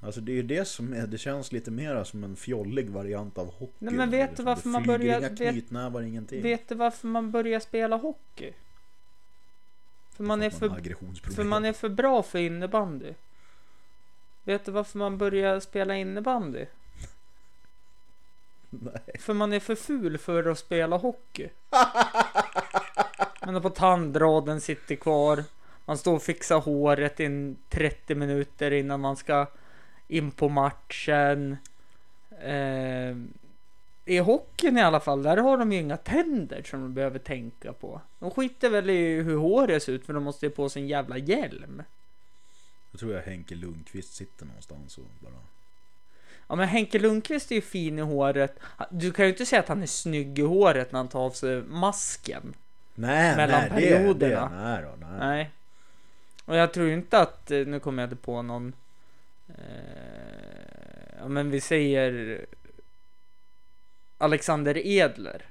S2: Alltså det är ju det som är, det känns lite mera som en fjollig variant av hockey.
S1: Nej, men vet du varför
S2: det
S1: man
S2: flyger
S1: börjar-
S2: Inga
S1: vet-
S2: knytnävar, ingenting.
S1: Vet du varför man börjar spela hockey? För man är
S2: Att man har
S1: för,
S2: aggressionsproblem.
S1: för, man är för bra för innebandy. Vet du varför man börjar spela innebandy?
S2: Nej.
S1: För man är för ful för att spela hockey. Man har på tandraden, sitter kvar. Man står och fixar håret i 30 minuter innan man ska in på matchen. Eh, I hockeyn i alla fall, där har de ju inga tänder som de behöver tänka på. De skiter väl i hur håret ser ut för de måste ju på sig en jävla hjälm.
S2: Jag tror jag Henke Lundqvist sitter någonstans och bara...
S1: Ja men Henke Lundqvist är ju fin i håret. Du kan ju inte säga att han är snygg i håret när han tar av sig masken.
S2: Nej,
S1: Mellan
S2: nej, det,
S1: perioderna.
S2: det, nej då, nej.
S1: Nej. Och jag tror inte att, eh, nu kommer jag inte på någon, eh, ja, men vi säger Alexander Edler,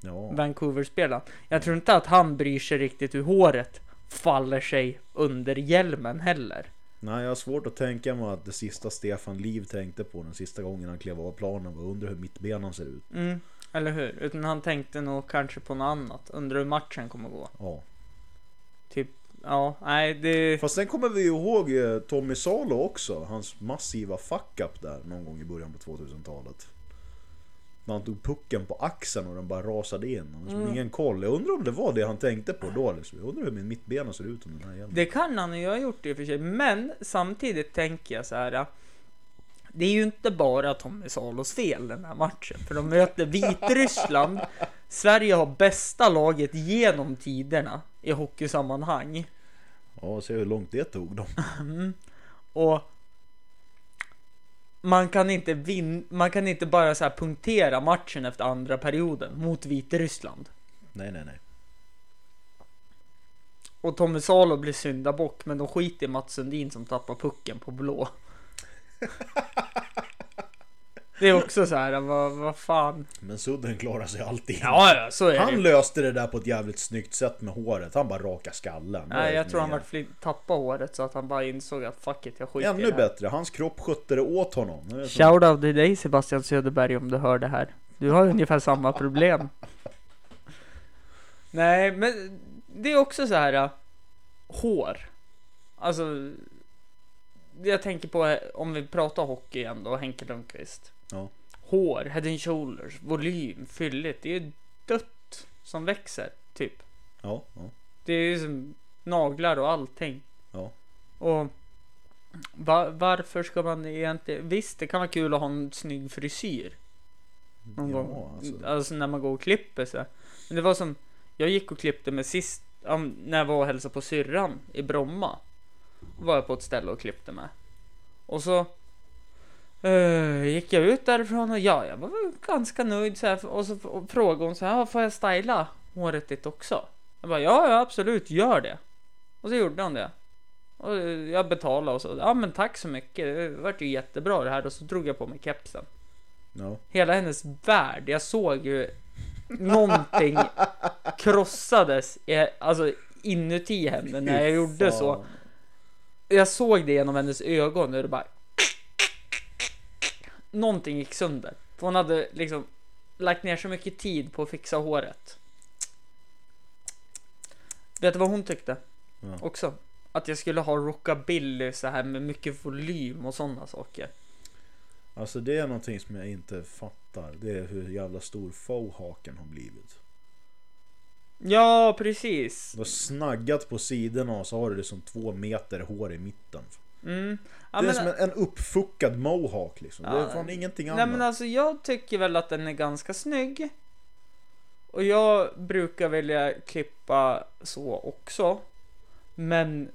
S2: Ja.
S1: Vancouver-spelaren. Jag tror inte att han bryr sig riktigt hur håret faller sig under hjälmen heller.
S2: nej, jag har svårt att tänka mig att det sista Stefan Liv tänkte på den sista gången han klev av planen var undrar hur mittbenan ser ut.
S1: Mm, eller hur? Utan han tänkte nog kanske på något annat, undrar hur matchen kommer gå.
S2: Ja.
S1: Typ Ja, nej det...
S2: Fast sen kommer vi ju ihåg eh, Tommy Salo också, hans massiva fuck-up där någon gång i början på 2000-talet. När han tog pucken på axeln och den bara rasade in. Och
S1: Mm.
S2: liksom ingen koll. Jag undrar om det var det han tänkte på då. Liksom. Jag undrar hur min mittbena ser ut under den här hjälmen.
S1: Det kan han ju ha gjort i och för sig, men samtidigt tänker jag så här. Det är ju inte bara Tommy Salos fel den här matchen, för de möter Vitryssland. Sverige har bästa laget genom tiderna i hockeysammanhang.
S2: Ja, se hur långt det tog dem.
S1: Och man kan inte, vin- man kan inte bara så här punktera matchen efter andra perioden mot Vitryssland.
S2: Nej, nej, nej.
S1: Och Tommy Salo blir syndabock, men de skiter i Mats Sundin som tappar pucken på blå. Det är också så här, vad, vad fan.
S2: Men Sudden klarar sig alltid.
S1: Ja, ja, så är
S2: Han
S1: det.
S2: löste det där på ett jävligt snyggt sätt med håret. Han bara raka skallen.
S1: Nej, jag tror han
S2: Mer.
S1: vart flit- tappade håret så att han bara insåg att fuck it, jag skiter i
S2: Ännu
S1: det här.
S2: bättre. Hans kropp skötte det åt honom. Nu är det så-
S1: Shout out till dig Sebastian Söderberg om du hör det här. Du har ungefär samma problem. Nej, men det är också så här. äh, Hår. Alltså. Jag tänker på eh, om vi pratar hockey igen då, Henke Lundqvist.
S2: Ja.
S1: Hår, head and shoulders, volym, fylligt. Det är ju dött som växer, typ.
S2: Ja, ja,
S1: Det är ju som naglar och allting.
S2: ja.
S1: Och va- varför ska man egentligen... Visst, det kan vara kul att ha en snygg frisyr. Någon
S2: Ja,
S1: gång.
S2: alltså.
S1: Alltså. när man går och klipper sig. Men det var som... Jag gick och klippte mig sist... ja, men När jag var och hälsade på syrran i Bromma. Var jag på ett ställe och klippte mig. Och så... eh, gick jag ut därifrån och ja, jag var väl ganska nöjd så här. Och så f- och frågade hon så här, "Ja, får jag styla håret ditt också? Jag bara, ja, ja absolut, gör det. Och så gjorde hon det. Och jag betalade och så. Ja men tack så mycket. Det vart ju jättebra det här. Och så drog jag på mig kepsen.
S2: Ja.
S1: Hela hennes värld. Jag såg ju någonting krossades i, alltså inuti henne när jag
S2: Fy
S1: gjorde
S2: fan.
S1: så. Jag såg det genom hennes ögon. Och det bara... Någonting gick sönder. För hon hade liksom lagt ner så mycket tid på att fixa håret. Vet du vad hon tyckte?
S2: Ja.
S1: Också. Att jag skulle ha rockabilly så här med mycket volym och sådana saker.
S2: Alltså det är någonting som jag inte fattar. Det är hur jävla stor faux-haken har blivit.
S1: Ja, precis.
S2: Du har snaggat på sidorna och så har du liksom två meter hår i mitten.
S1: Mm. Ja,
S2: det är
S1: men,
S2: som en, en uppfuckad mohawk liksom. det är
S1: Ja,
S2: fan ingenting
S1: nej,
S2: annat.
S1: men alltså jag tycker väl att den är ganska snygg. Och jag brukar vilja klippa så också. Men,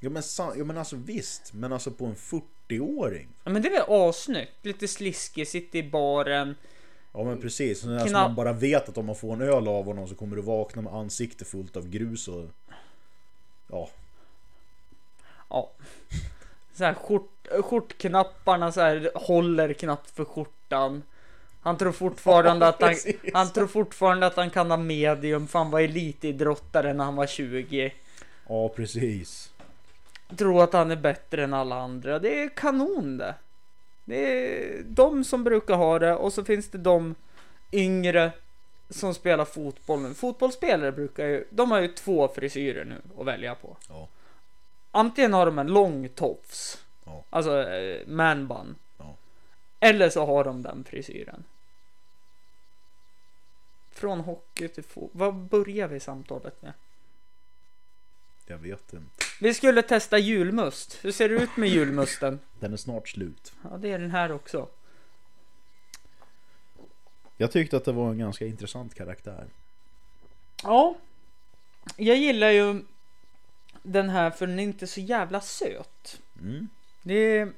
S2: ja, men san, ja men alltså visst, men alltså på en 40-åring.
S1: ja, men det är väl assnyggt. Lite sliskig, sitter i baren.
S2: Ja men precis, sån där som
S1: Kna-
S2: man bara vet att om man får en öl av honom så kommer du vakna med ansikte fullt av grus och... Ja,
S1: Ja. Så här skjort, skjortknapparna så här håller knappt för skjortan. Han tror fortfarande
S2: Ja,
S1: att han,
S2: precis.
S1: han tror fortfarande att han kan ha medium för han var elitidrottare när han var 20.
S2: ja precis.
S1: Tror att han är bättre än alla andra. Det är kanon det. Det är de som brukar ha det och så finns det de yngre som spelar fotboll nu. Fotbollsspelare brukar ju, de har ju två frisyrer nu att välja på.
S2: Ja,
S1: Antingen har de en lång tofs.
S2: Ja.
S1: Alltså eh, manbun.
S2: Ja.
S1: Eller så har de den frisyren. Från hockey till fot. Vad börjar vi samtalet med?
S2: jag vet inte.
S1: Vi skulle testa julmust. Hur ser det ut med julmusten?
S2: Den är snart slut.
S1: Ja, det är den här också.
S2: Jag tyckte att det var en ganska intressant karaktär.
S1: Ja. Jag gillar ju den här för den är inte så jävla söt.
S2: Mm.
S1: Det är...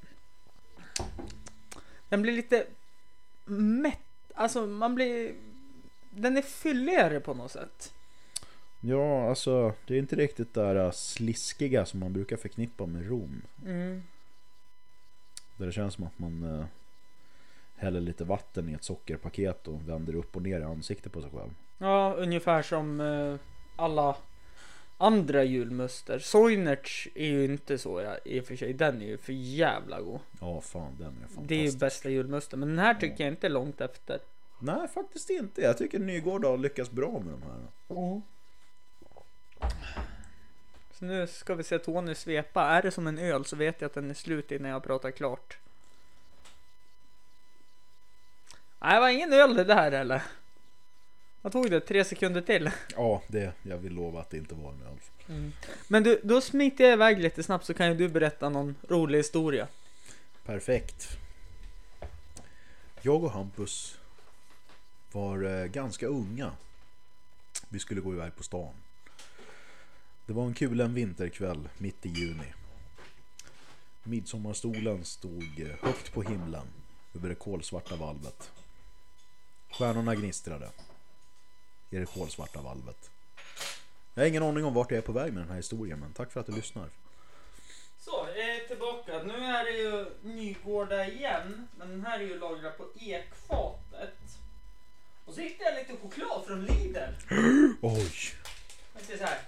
S1: Den blir lite mätt. Alltså man blir... Den är fylligare på något sätt.
S2: Ja, alltså det är inte riktigt det där äh, sliskiga som man brukar förknippa med Rom.
S1: Mm.
S2: Där det känns som att man äh, häller lite vatten i ett sockerpaket och vänder upp och ner i ansiktet på sig själv.
S1: Ja, ungefär som eh, alla andra julmuster. Soinerts är ju inte så ja, i och för sig. Den är ju för jävla god.
S2: Ja, fan den är
S1: Det är ju
S2: fantastisk.
S1: bästa julmusten. Men den här tycker jag inte är långt efter.
S2: Nej, faktiskt inte. Jag tycker Nygård har lyckats bra med de här.
S1: Så nu ska vi se Tony svepa. Är det som en öl så vet jag att den är slut innan jag pratar klart. Nej, det var ingen öl det där eller? Vad tog det? Tre sekunder till?
S2: Ja, det, jag vill lova att det inte var en öl.
S1: Men du, då smiter jag iväg lite snabbt så kan ju du berätta någon rolig historia.
S2: Perfekt. Jag och Hampus var eh, ganska unga. Vi skulle gå iväg på stan. Det var en kulen vinterkväll mitt i juni. Midsommarstolen stod eh, högt på himlen över det kolsvarta valvet. Stjärnorna gnistrade i det kolsvarta valvet. Jag har ingen aning om vart jag är på väg med den här historien men tack för att du lyssnar.
S1: Så, jag är tillbaka. Nu är det ju Nygårda igen. Men den här är ju lagrad på ekfatet. Och så hittade jag lite choklad från Lidl.
S2: Oj!
S1: Lite så här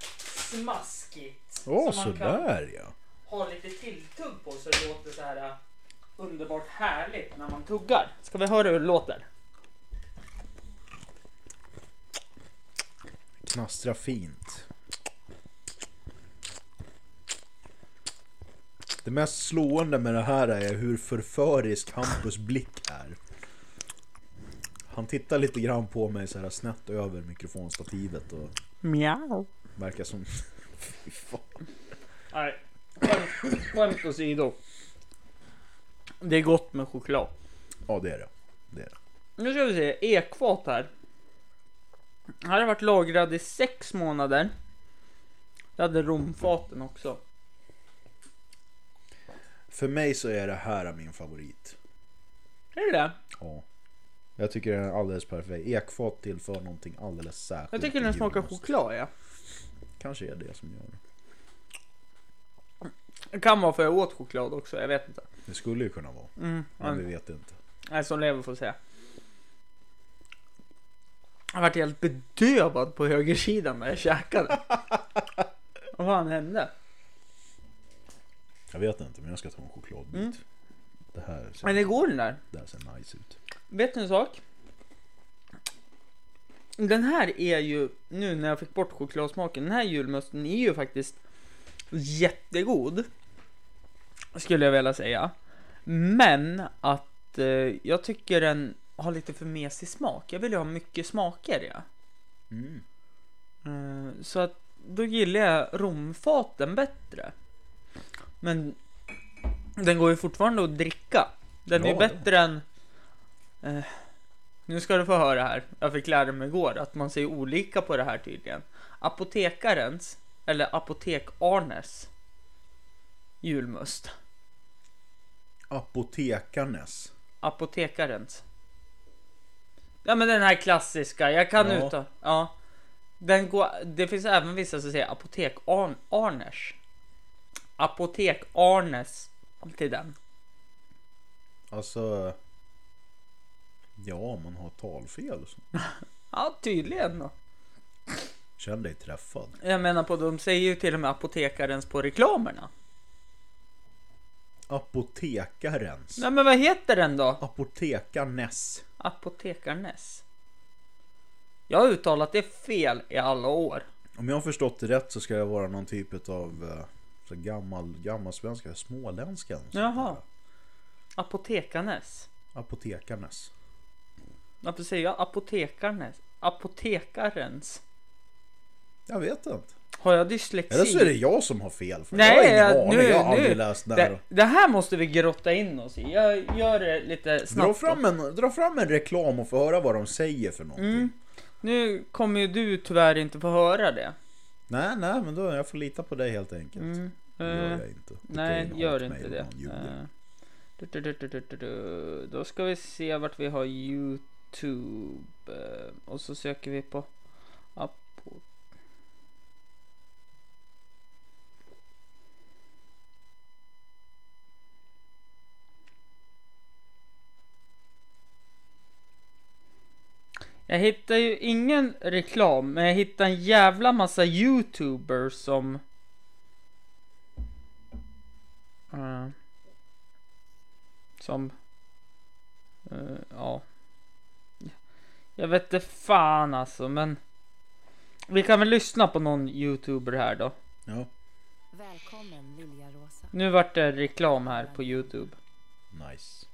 S1: smaskigt.
S2: Åh,
S1: Som man kan
S2: sådär ja!
S1: ha lite tilltugg på så det låter så här äh, underbart härligt när man tuggar. Ska vi höra hur det låter?
S2: Knastra fint. Det mest slående med det här är hur förförisk Hampus blick är. Han tittar lite grann på mig så här snett över mikrofonstativet och
S1: Mjau.
S2: verkar som... Fy fan.
S1: Nej, skämt- skämt åsido. Det är gott med choklad.
S2: Ja, det är det. det, är det.
S1: Nu ska vi se, ekfat här. Den här har varit lagrad i sex månader. Jag hade romfaten också.
S2: För mig så är det här min favorit.
S1: Är det det?
S2: Ja. Jag tycker den är alldeles perfekt. Ekfat tillför någonting alldeles särskilt.
S1: Jag tycker
S2: i
S1: den smakar
S2: julmust.
S1: choklad ja.
S2: Kanske är det som gör det.
S1: Det kan vara för jag åt choklad också, jag vet inte.
S2: Det skulle ju kunna vara.
S1: Mm,
S2: Men vi
S1: men,
S2: vet inte.
S1: nej, som lever får säga. Jag varit helt bedövad på högersidan när jag käkade. Vad fan hände?
S2: Jag vet inte, men jag ska ta en chokladbit.
S1: Mm.
S2: Det, här ser,
S1: Men det går den där.
S2: det här ser nice ut.
S1: Vet du en sak? Den här är ju, nu när jag fick bort chokladsmaken, den här julmusten är ju faktiskt jättegod. Skulle jag vilja säga. Men att eh, jag tycker den har lite för mesig smak. Jag vill ju ha mycket smaker ja.
S2: Mm.
S1: Eh, så att då gillar jag romfaten bättre. Men den går ju fortfarande att dricka. Den är
S2: Ja,
S1: ju bättre än... Eh, nu ska du få höra här. Jag fick lära mig igår att man ser olika på det här tydligen. Apotekarens, eller Apotek-Arnes julmust.
S2: Apotekarnes.
S1: Apotekarens. Ja men den här klassiska, jag kan
S2: Ja.
S1: utan. Ja. Den går, det finns även vissa som säger apotek Arn, Arners. Apotek Arnes. Till den.
S2: Alltså... Ja, man har talfel.
S1: Ja tydligen då.
S2: Känn dig träffad.
S1: Jag menar på de säger ju till och med apotekarens på reklamerna.
S2: Apotekarens.
S1: Nej men vad heter den då?
S2: Apotekarnes.
S1: Apotekarnes. Jag har uttalat det fel i alla år.
S2: Om jag har förstått det rätt så ska det vara någon typ av eh, så gammal, gammalsvenska, småländska. eller något sånt
S1: Jaha.
S2: där.
S1: Apotekarnes.
S2: Apotekarnes.
S1: Varför säger jag apotekarnes? Apotekarens.
S2: Jag vet inte.
S1: Har jag dyslexi?
S2: Eller så är det jag som har fel. För jag har
S1: Nej,
S2: ingen
S1: jag,
S2: aning.
S1: nu,
S2: jag har
S1: nu.
S2: aldrig läst det
S1: Det,
S2: här.
S1: det här måste vi grotta in oss i. Jag gör det lite
S2: Dra
S1: snabbt.
S2: fram, en, dra fram en reklam och få höra vad de säger för någonting.
S1: Mm. Nu kommer ju du tyvärr inte få höra det.
S2: Nej, nej, men då jag får lita på dig helt enkelt.
S1: Mm.
S2: Det gör
S1: Eh,
S2: jag inte. Det är
S1: nej,
S2: en
S1: gör inte
S2: hatmail om
S1: det.
S2: någon ljuger.
S1: Eh, du, du, du, du, du, du, du. Då ska vi se vart vi har Youtube. eh, Och så söker vi på Apo... Jag hittar ju ingen reklam, men jag hittar en jävla massa youtubers som... Eh, som... eh, ja. Jag vet inte fan alltså, men... Vi kan väl lyssna på någon youtuber här då.
S2: Ja.
S5: Välkommen Lilja Rosa.
S1: Nu vart det reklam här på Youtube.
S2: Nice.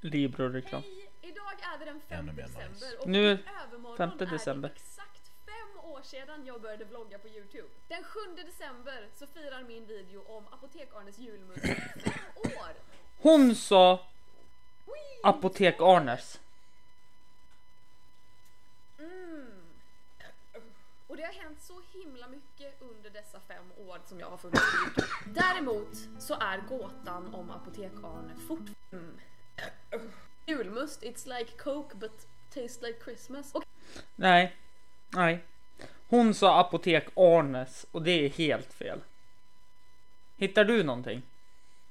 S1: Libro-reklam.
S7: Hej! Idag är det den 5
S2: Ännu mer
S7: december
S2: nice.
S7: och
S1: Nu,
S7: i övermorgon
S1: 5
S7: är det
S1: december.
S7: exakt fem år sedan jag började vlogga på Youtube. Den 7 december så firar min video om Apotek-Arnes julmust fem år!
S1: Hon sa Apotek Arnes.
S7: Mm. Och det har hänt så himla mycket under dessa fem år som jag har funnits på Youtube. Däremot så är gåtan om Apotek-Arne fortfarande... Mm. Julmust, it's like coke but tastes like Christmas. Och
S1: Nej, nej. Hon sa Apotek Arnes och det är helt fel. Hittar du någonting?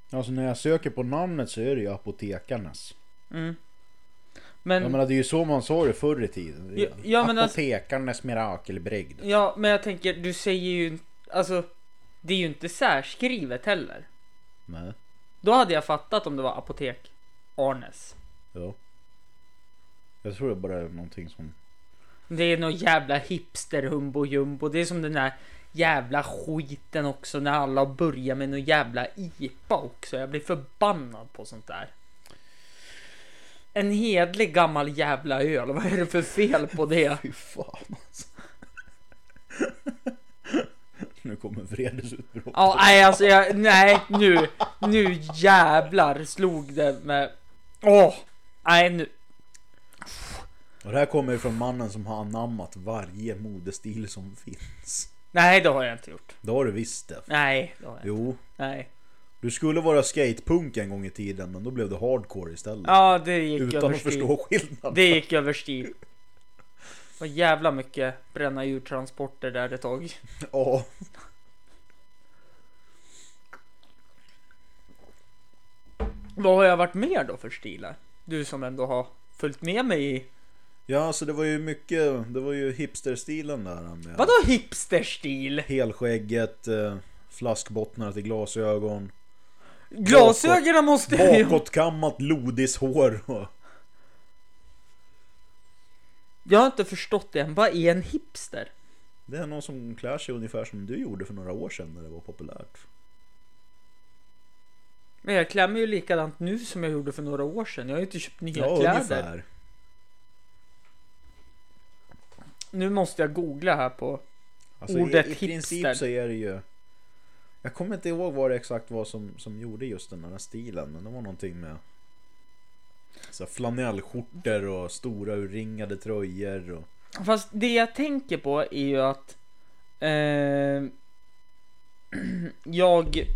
S2: Alltså när jag söker på namnet så är det ju apotekarnas.
S1: Men,
S2: Jag menar det är ju så man sa det förr i tiden.
S1: Ja, ja, men alltså-
S2: apotekarnas mirakelbrygd.
S1: ja, men jag tänker, du säger ju alltså. Det är ju inte särskrivet heller.
S2: Nej.
S1: Då hade jag fattat om det var Apotek Arnes.
S2: Ja. Jag tror det bara är någonting som...
S1: Det är någon jävla hipster humbo jumbo. Det är som den där jävla skiten också när alla börjar med någon jävla IPA också. Jag blir förbannad på sånt där. En hedlig gammal jävla öl. Vad är det för fel på det?
S2: Fy fan alltså. nu kommer vredesutbrott.
S1: Ja, nej alltså jag, nej nu, nu jävlar slog det med. Åh, nej nu.
S2: Och det här kommer ju från mannen som har anammat varje modestil som finns.
S1: Nej, det har jag inte gjort.
S2: Det har du visst det.
S1: Nej, det har jag inte.
S2: Jo.
S1: Nej.
S2: Du skulle vara skatepunk en gång i tiden men då blev det hardcore istället.
S1: Ja, det gick
S2: Utan att
S1: överstyr.
S2: förstå skillnaden.
S1: Det gick överstyr. Vad jävla mycket bränna djurtransporter där ett tag.
S2: Ja.
S1: Vad har jag varit med då för stilar? Du som ändå har följt med mig i...
S2: Ja, alltså det var ju mycket, det var ju hipsterstilen där med
S1: Vadå hipsterstil?
S2: helskägget, eh, flaskbottnar till glasögon,
S1: Glasögonen måste jag ju...
S2: bakåtkammat lodishår och...
S1: Jag har inte förstått det än. Vad är en hipster?
S2: Det är någon som klär sig ungefär som du gjorde för några år sedan när det var populärt.
S1: Men jag klär mig ju likadant nu som jag gjorde för några år sedan. Jag har ju inte köpt nya
S2: Ja,
S1: kläder.
S2: ungefär.
S1: Nu måste jag googla här på...
S2: Alltså,
S1: Ordet
S2: i, I
S1: hipster.
S2: princip så är det ju... Jag kommer inte ihåg vad det exakt var som, som gjorde just den här stilen, men det var någonting med så här flanellskjortor och stora urringade tröjor och...
S1: Fast det jag tänker på är ju att eh, jag,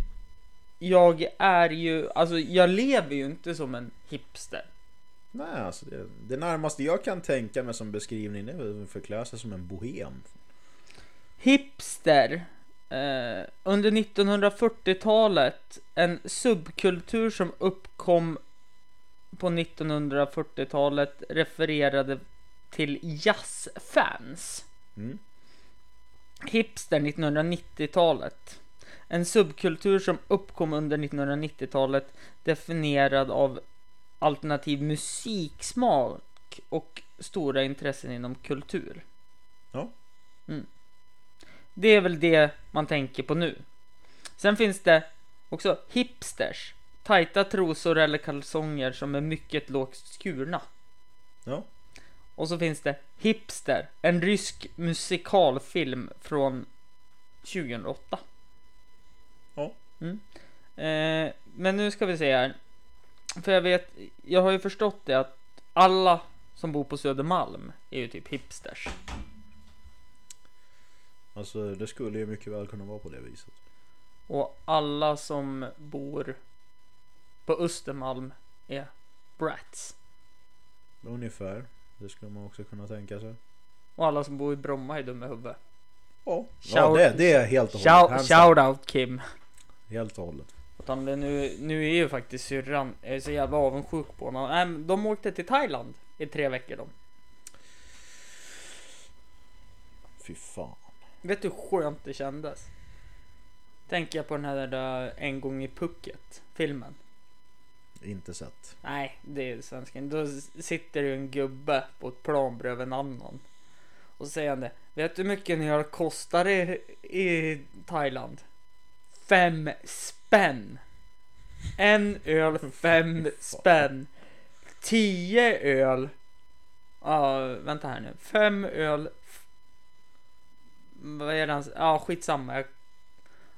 S1: jag är ju, alltså jag lever ju inte som en hipster.
S2: Nej, alltså det, det närmaste jag kan tänka mig som beskrivning det är väl att förklä sig som en bohem.
S1: Hipster. Eh, under 1940-talet, en subkultur som uppkom på 1940-talet refererade till jazzfans.
S2: Mm.
S1: Hipster 1990-talet. En subkultur som uppkom under 1990-talet definierad av alternativ musiksmak och stora intressen inom kultur.
S2: Ja.
S1: Det är väl det man tänker på nu. Sen finns det också hipsters. Tajta trosor eller kalsonger som är mycket lågt skurna.
S2: Ja.
S1: Och så finns det Hipster, en rysk musikalfilm från 2008.
S2: Ja.
S1: Mm. Eh, men nu ska vi se här. För jag vet, jag har ju förstått det att alla som bor på Södermalm är ju typ hipsters.
S2: Alltså det skulle ju mycket väl kunna vara på det viset.
S1: Och alla som bor på Östermalm är brats.
S2: Ungefär. Det skulle man också kunna tänka sig.
S1: Och alla som bor i Bromma är dumma i huvudet.
S2: Ja, ja
S1: Shout-
S2: det, det är helt och hållet.
S1: Shout,
S2: Hands
S1: shout out Kim!
S2: down. Helt och hållet.
S1: Utan det nu, nu är ju faktiskt syrran, jag är så jävla avundsjuk på honom. Nej, men de åkte till Thailand i tre veckor de.
S2: Fy fan.
S1: Vet du hur skönt det kändes? Tänker jag på den här där En gång i pucket filmen.
S2: Inte sett.
S1: Nej, det är svensken. Då s- sitter ju en gubbe på ett plan bredvid en annan. Och så säger han det. Vet du hur mycket ni har kostar i, i Thailand? fem spänn. En öl fem spänn. Tio öl. Ja, vänta här nu. Fem öl. f- Vad är det han s- Ja, skitsamma. Jag-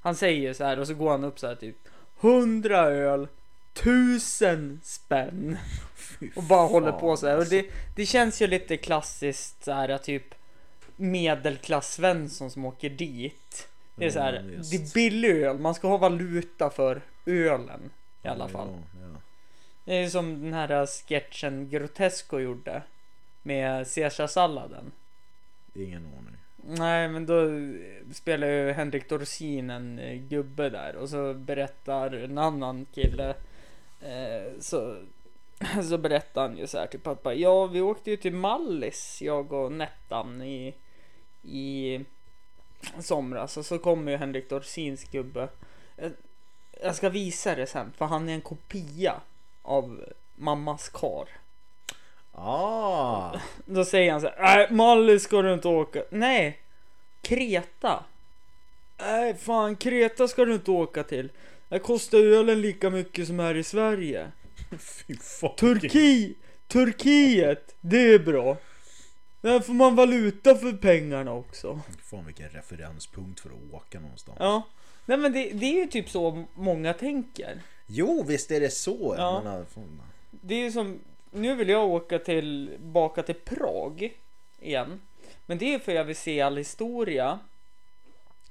S1: Han säger så här och så går han upp så här typ. Hundra öl. Tusen spänn.
S2: Fy
S1: Och bara
S2: fan,
S1: håller på så här. Och
S2: alltså.
S1: det, det känns ju lite klassiskt så här typ medelklass-Svensson som åker dit. Det är så
S2: Ja,
S1: här,
S2: visst.
S1: det är billig öl, man ska ha valuta för ölen i alla fall.
S2: Ja, ja.
S1: Det är som den här sketchen Grotesco gjorde med caesarsalladen.
S2: Ingen aning.
S1: Nej, men då spelar ju Henrik Dorsin en eh, gubbe där och så berättar en annan kille eh, så, så berättar han ju så här till pappa. Ja, vi åkte ju till Mallis, jag och Nettan i, i somras och så kommer ju Henrik Dorsins gubbe. Eh, Jag ska visa det sen för han är en kopia av mammas kar.
S2: Ah!
S1: Då säger han så här, nej Mallis ska du inte åka. Nej, Kreta. Nej fan, Kreta ska du inte åka till. Där kostar ölen lika mycket som här i Sverige.
S2: Fy fan.
S1: Turki, Turkiet, det är bra. Där får man valuta för pengarna också.
S2: Fan vilken referenspunkt för att åka någonstans.
S1: Ja, nej men det, det är ju typ så många tänker.
S2: Jo visst är det så.
S1: Ja.
S2: Jag menar, fan.
S1: Det är ju som, nu vill jag åka till, baka till Prag igen. Men det är för jag vill se all historia.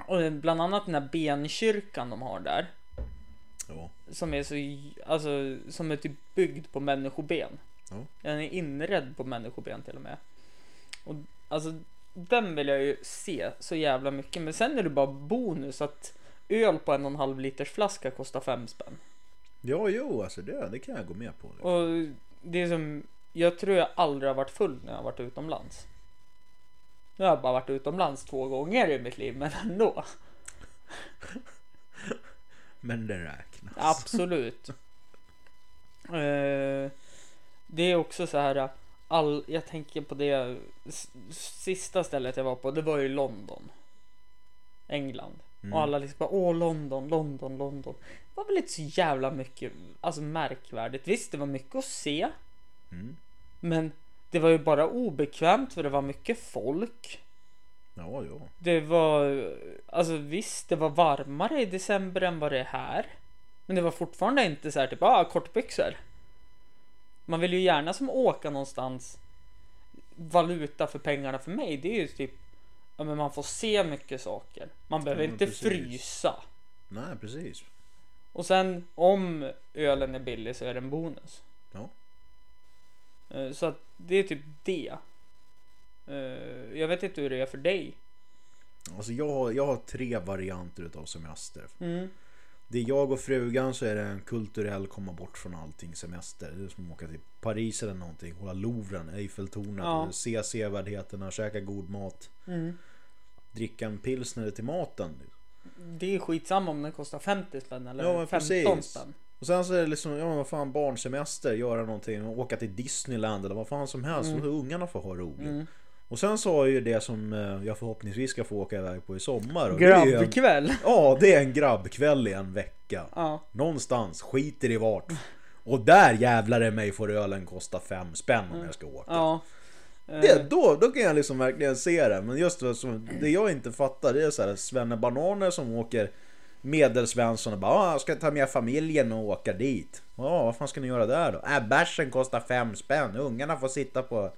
S1: Och bland annat den här benkyrkan de har där.
S2: Ja.
S1: Som är så, alltså, som är typ byggd på människoben.
S2: Ja.
S1: Den är inredd på människoben till och med. Och alltså, den vill jag ju se så jävla mycket. Men sen är det bara bonus att öl på en och en halv liters flaska kostar fem spänn.
S2: ja jo alltså det, det kan jag gå med på. Det.
S1: Och det är som, jag tror jag aldrig har varit full när jag har varit utomlands. Nu har jag bara varit utomlands två gånger i mitt liv, men ändå.
S2: Men det räknas.
S1: Absolut. Eh, det är också så här, all, jag tänker på det s- sista stället jag var på, det var ju London. England. Och alla liksom bara, åh London, London, London. Det var väl inte så jävla mycket, alltså märkvärdigt. Visst, det var mycket att se.
S2: Mm.
S1: Men det var ju bara obekvämt för det var mycket folk.
S2: Ja, ja.
S1: Det var, alltså visst, det var varmare i december än vad det är här. Men det var fortfarande inte så här typ, ah, kortbyxor. Man vill ju gärna som åka någonstans valuta för pengarna för mig, det är ju typ, ja men man får se mycket saker. Man behöver
S2: Ja, men
S1: inte
S2: precis.
S1: frysa.
S2: Nej precis.
S1: Och sen om ölen är billig så är det en bonus.
S2: Ja.
S1: Eh, Så att det är typ det. Eh, Jag vet inte hur det är för dig.
S2: Alltså jag har, jag har tre varianter utav semester.
S1: Mm.
S2: Det är jag och frugan så är det en kulturell komma bort från allting semester. Det är som att åka till Paris eller någonting. Kolla Louvren, Eiffeltornet,
S1: Ja.
S2: se sevärdheterna, käka god mat. Dricka en pilsner till maten.
S1: Det är skitsamma om den kostar 50 spänn eller
S2: Ja, men
S1: 15
S2: precis.
S1: spänn.
S2: Och sen så är det liksom, ja men vad fan barnsemester, göra någonting, åka till Disneyland eller vad fan som helst. Och så ungarna får ha roligt. Och sen så har jag ju det som eh, jag förhoppningsvis ska få åka iväg på i sommar. Och det är ju en-
S1: Grabbkväll.
S2: Ja, det är en grabbkväll i en vecka.
S1: Ja.
S2: Någonstans, skiter i vart. Och där jävlar i mig får ölen kosta fem spänn om jag ska åka.
S1: Mm. Ja. Eh.
S2: Det, då, då kan jag liksom verkligen se det. Men just det, som, det jag inte fattar det är så här svennebananer som åker Medelsvensson och bara "Ah, jag ska ta med familjen och åka dit. Ja, vad fan ska ni göra där då? Äh, bärsen kostar fem spän. Ungarna får sitta på,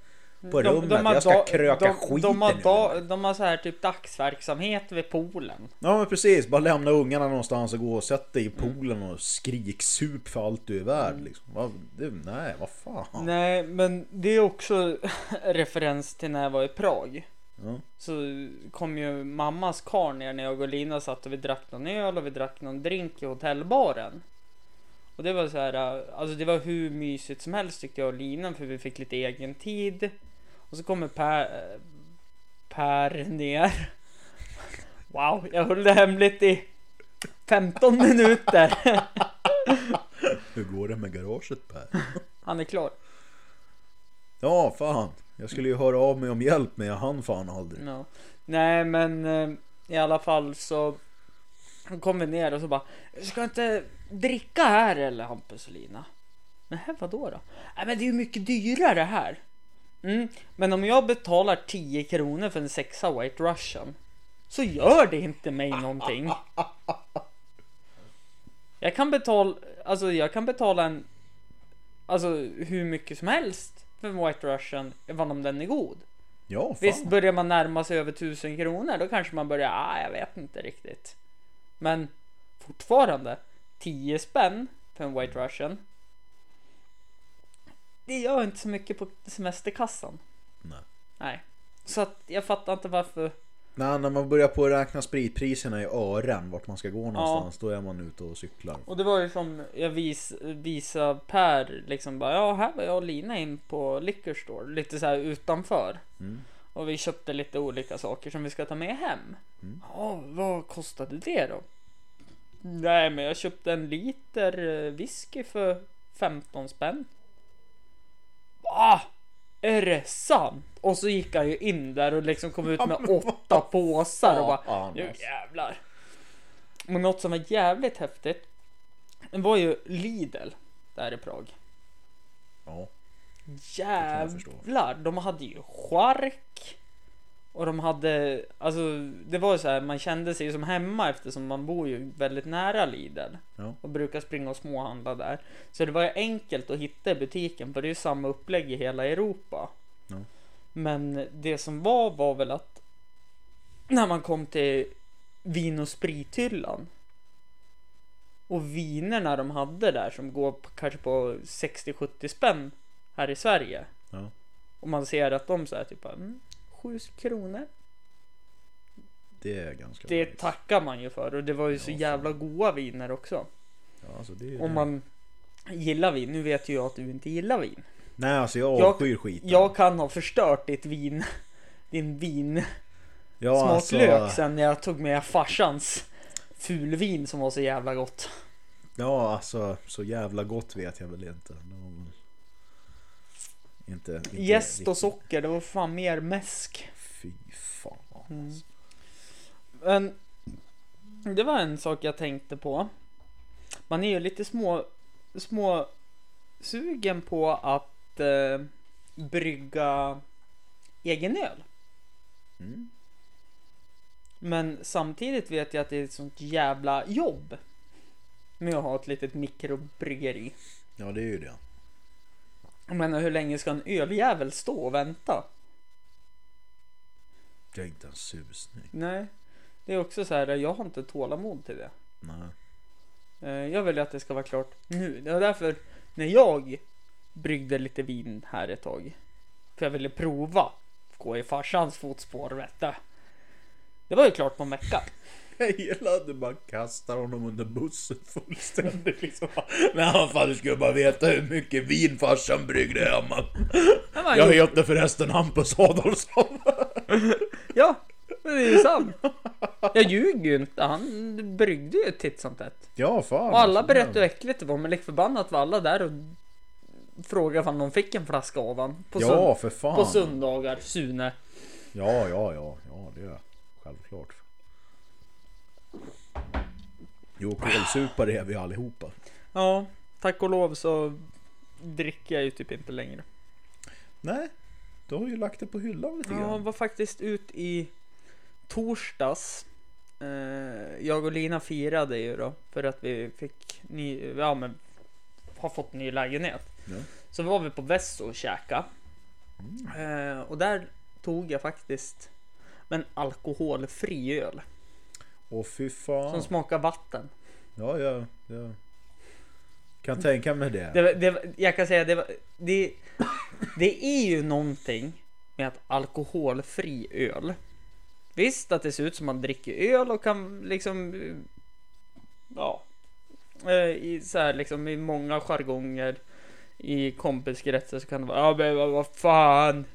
S2: på rummet. jag ska
S1: da-
S2: kröka
S1: de,
S2: skiten
S1: de har,
S2: ur
S1: da,
S2: dem."
S1: de har så här typ dagsverksamhet vid poolen.
S2: Ja men precis, bara lämna ungarna någonstans och gå och sätt dig i poolen och skriksup för allt du är värd liksom. Vad- det, nej, vad fan.
S1: Mm. Nej, men det är också referens till när jag var i Prag.
S2: Ja.
S1: Så kom ju mammas kar ner när jag och Lina satt och vi drack någon öl och vi drack någon drink i hotellbaren. Och det var så här, äh, alltså det var hur mysigt som helst tyckte jag och Lina för vi fick lite egen tid. Och så kommer Per, äh, per ner. Wow, jag höll det hemligt i 15 minuter.
S2: Hur går det med garaget Per?
S1: Han är klar.
S2: Ja, fan. Jag skulle ju höra av mig om hjälp
S1: Mm.
S2: men jag hann fan aldrig.
S1: Ja. Nej men eh, i alla fall så Då kom vi ner och så bara Ska jag inte dricka här eller Hampus och Lina? Men här vadå då? Nej men det är ju mycket dyrare här. Mm, men om jag betalar 10 kronor för en sexa White Russian så gör det inte mig någonting. Jag kan betala, alltså jag kan betala en, alltså hur mycket som helst för en White Russian, även om den är god.
S2: Ja, fan.
S1: Visst börjar man närma sig över 1000 kronor då kanske man börjar, ah, jag vet inte riktigt. Men fortfarande 10 spänn för en White Russian. Det gör inte så mycket på semesterkassan.
S2: Nej.
S1: Nej. Så att jag fattar inte varför.
S2: Nej, när man börjar på att räkna spritpriserna i ören vart man ska gå någonstans då är man ute och cyklar.
S1: Och det var ju som jag vis, visade Per liksom bara ja här var jag och Lina in på liquor store lite så här utanför. Och vi köpte lite olika saker som vi ska ta med hem. Ja, vad kostade det då? Nej, men jag köpte en liter eh, whisky för 15 spänn. Va? Är det sant? Och så gick han ju in där och liksom kom ut med åtta påsar och bara
S2: Ja,
S1: nu
S2: nice.
S1: jävlar. Och något som var jävligt häftigt. Det var ju Lidl där i Prag.
S2: Ja. jag förstå.
S1: Jävlar, de hade ju chark. Och de hade, alltså det var ju så här, man kände sig ju som hemma eftersom man bor ju väldigt nära Lidl.
S2: Ja.
S1: Och brukar springa och småhandla där. Så det var ju enkelt att hitta i butiken för det är ju samma upplägg i hela Europa.
S2: Ja.
S1: Men det som var var väl att när man kom till vin och sprithyllan och vinerna de hade där som går på, kanske på 60-70 spänn här i Sverige.
S2: Ja.
S1: Och man ser att de så här typ mm, 7 kronor.
S2: Det är ganska
S1: Det
S2: nice.
S1: tackar man ju för och det var ju så
S2: Ja, fan.
S1: jävla goda viner också.
S2: Ja, alltså det är
S1: Om man gillar vin. Nu vet ju jag att du inte gillar vin.
S2: Nej, alltså jag
S1: Jag-
S2: avskyr skiten.
S1: Jag kan ha förstört ditt vin. Din vin.
S2: ja,
S1: smaklök
S2: alltså,
S1: sen när jag tog med farsans fulvin som var så jävla gott.
S2: Ja, alltså så jävla gott vet jag väl inte. Det var väl- Inte, inte
S1: Jäst
S2: riktigt.
S1: och socker, det var fan mer mäsk.
S2: Fy fan. alltså.
S1: Men det var en sak jag tänkte på. Man är ju lite små, små sugen på att eh, brygga egen öl.
S2: Mm.
S1: Men samtidigt vet jag att det är ett sånt jävla jobb med att ha ett litet mikrobryggeri.
S2: Ja, det är ju det.
S1: Jag menar hur länge ska en öljävel stå och vänta?
S2: Jag är inte en susning.
S1: Nej, det är också så här, jag har inte tålamod till det.
S2: Nej.
S1: Eh, Jag vill ju att det ska vara klart nu. Det var därför när jag bryggde lite vin här ett tag. För jag ville prova. Gå i farsans fotspår vet du. Det var ju klart på en vecka.
S2: Jag gillar att du bara kastar honom under bussen fullständigt liksom. Nej vad fan du skulle bara veta hur mycket vin farsan bryggde hemma.
S1: man
S2: Jag
S1: gjorde-
S2: heter förresten Hampus Adolfsson.
S1: Ja, det är ju sant. Jag ljuger ju inte. Han bryggde ju titt som tätt.
S2: Ja fan.
S1: Och alla berättade hur äckligt det var. Men lik förbannat var alla där och frågade om de fick en flaska av han. På,
S2: Ja
S1: sund-
S2: för fan.
S1: på söndagar, Sune.
S2: Ja ja ja, ja det är självklart. Jo kålsupare är vi allihopa.
S1: Ja, tack och lov så dricker jag ju typ inte längre.
S2: Nej, du har ju lagt det på hyllan lite
S1: Ja,
S2: grann.
S1: var faktiskt ut i torsdags. Eh, Jag och Lina firade ju då för att vi fick ny, ja men har fått ny lägenhet.
S2: Ja.
S1: Så var vi på Vesso och käka.
S2: Mm.
S1: Eh, Och där tog jag faktiskt en alkoholfri öl
S2: Åh fy
S1: som
S2: fan.
S1: smakar vatten.
S2: Ja ja, ja. Kan tänka mig det.
S1: Det, var- det, var- jag kan säga det, var- det, det är ju någonting med att alkoholfri öl. Visst att det ser ut som man dricker öl och kan liksom eh, ja eh, i så här liksom i många jargonger i kompiskretsar så kan det vara ja men vad, vad fan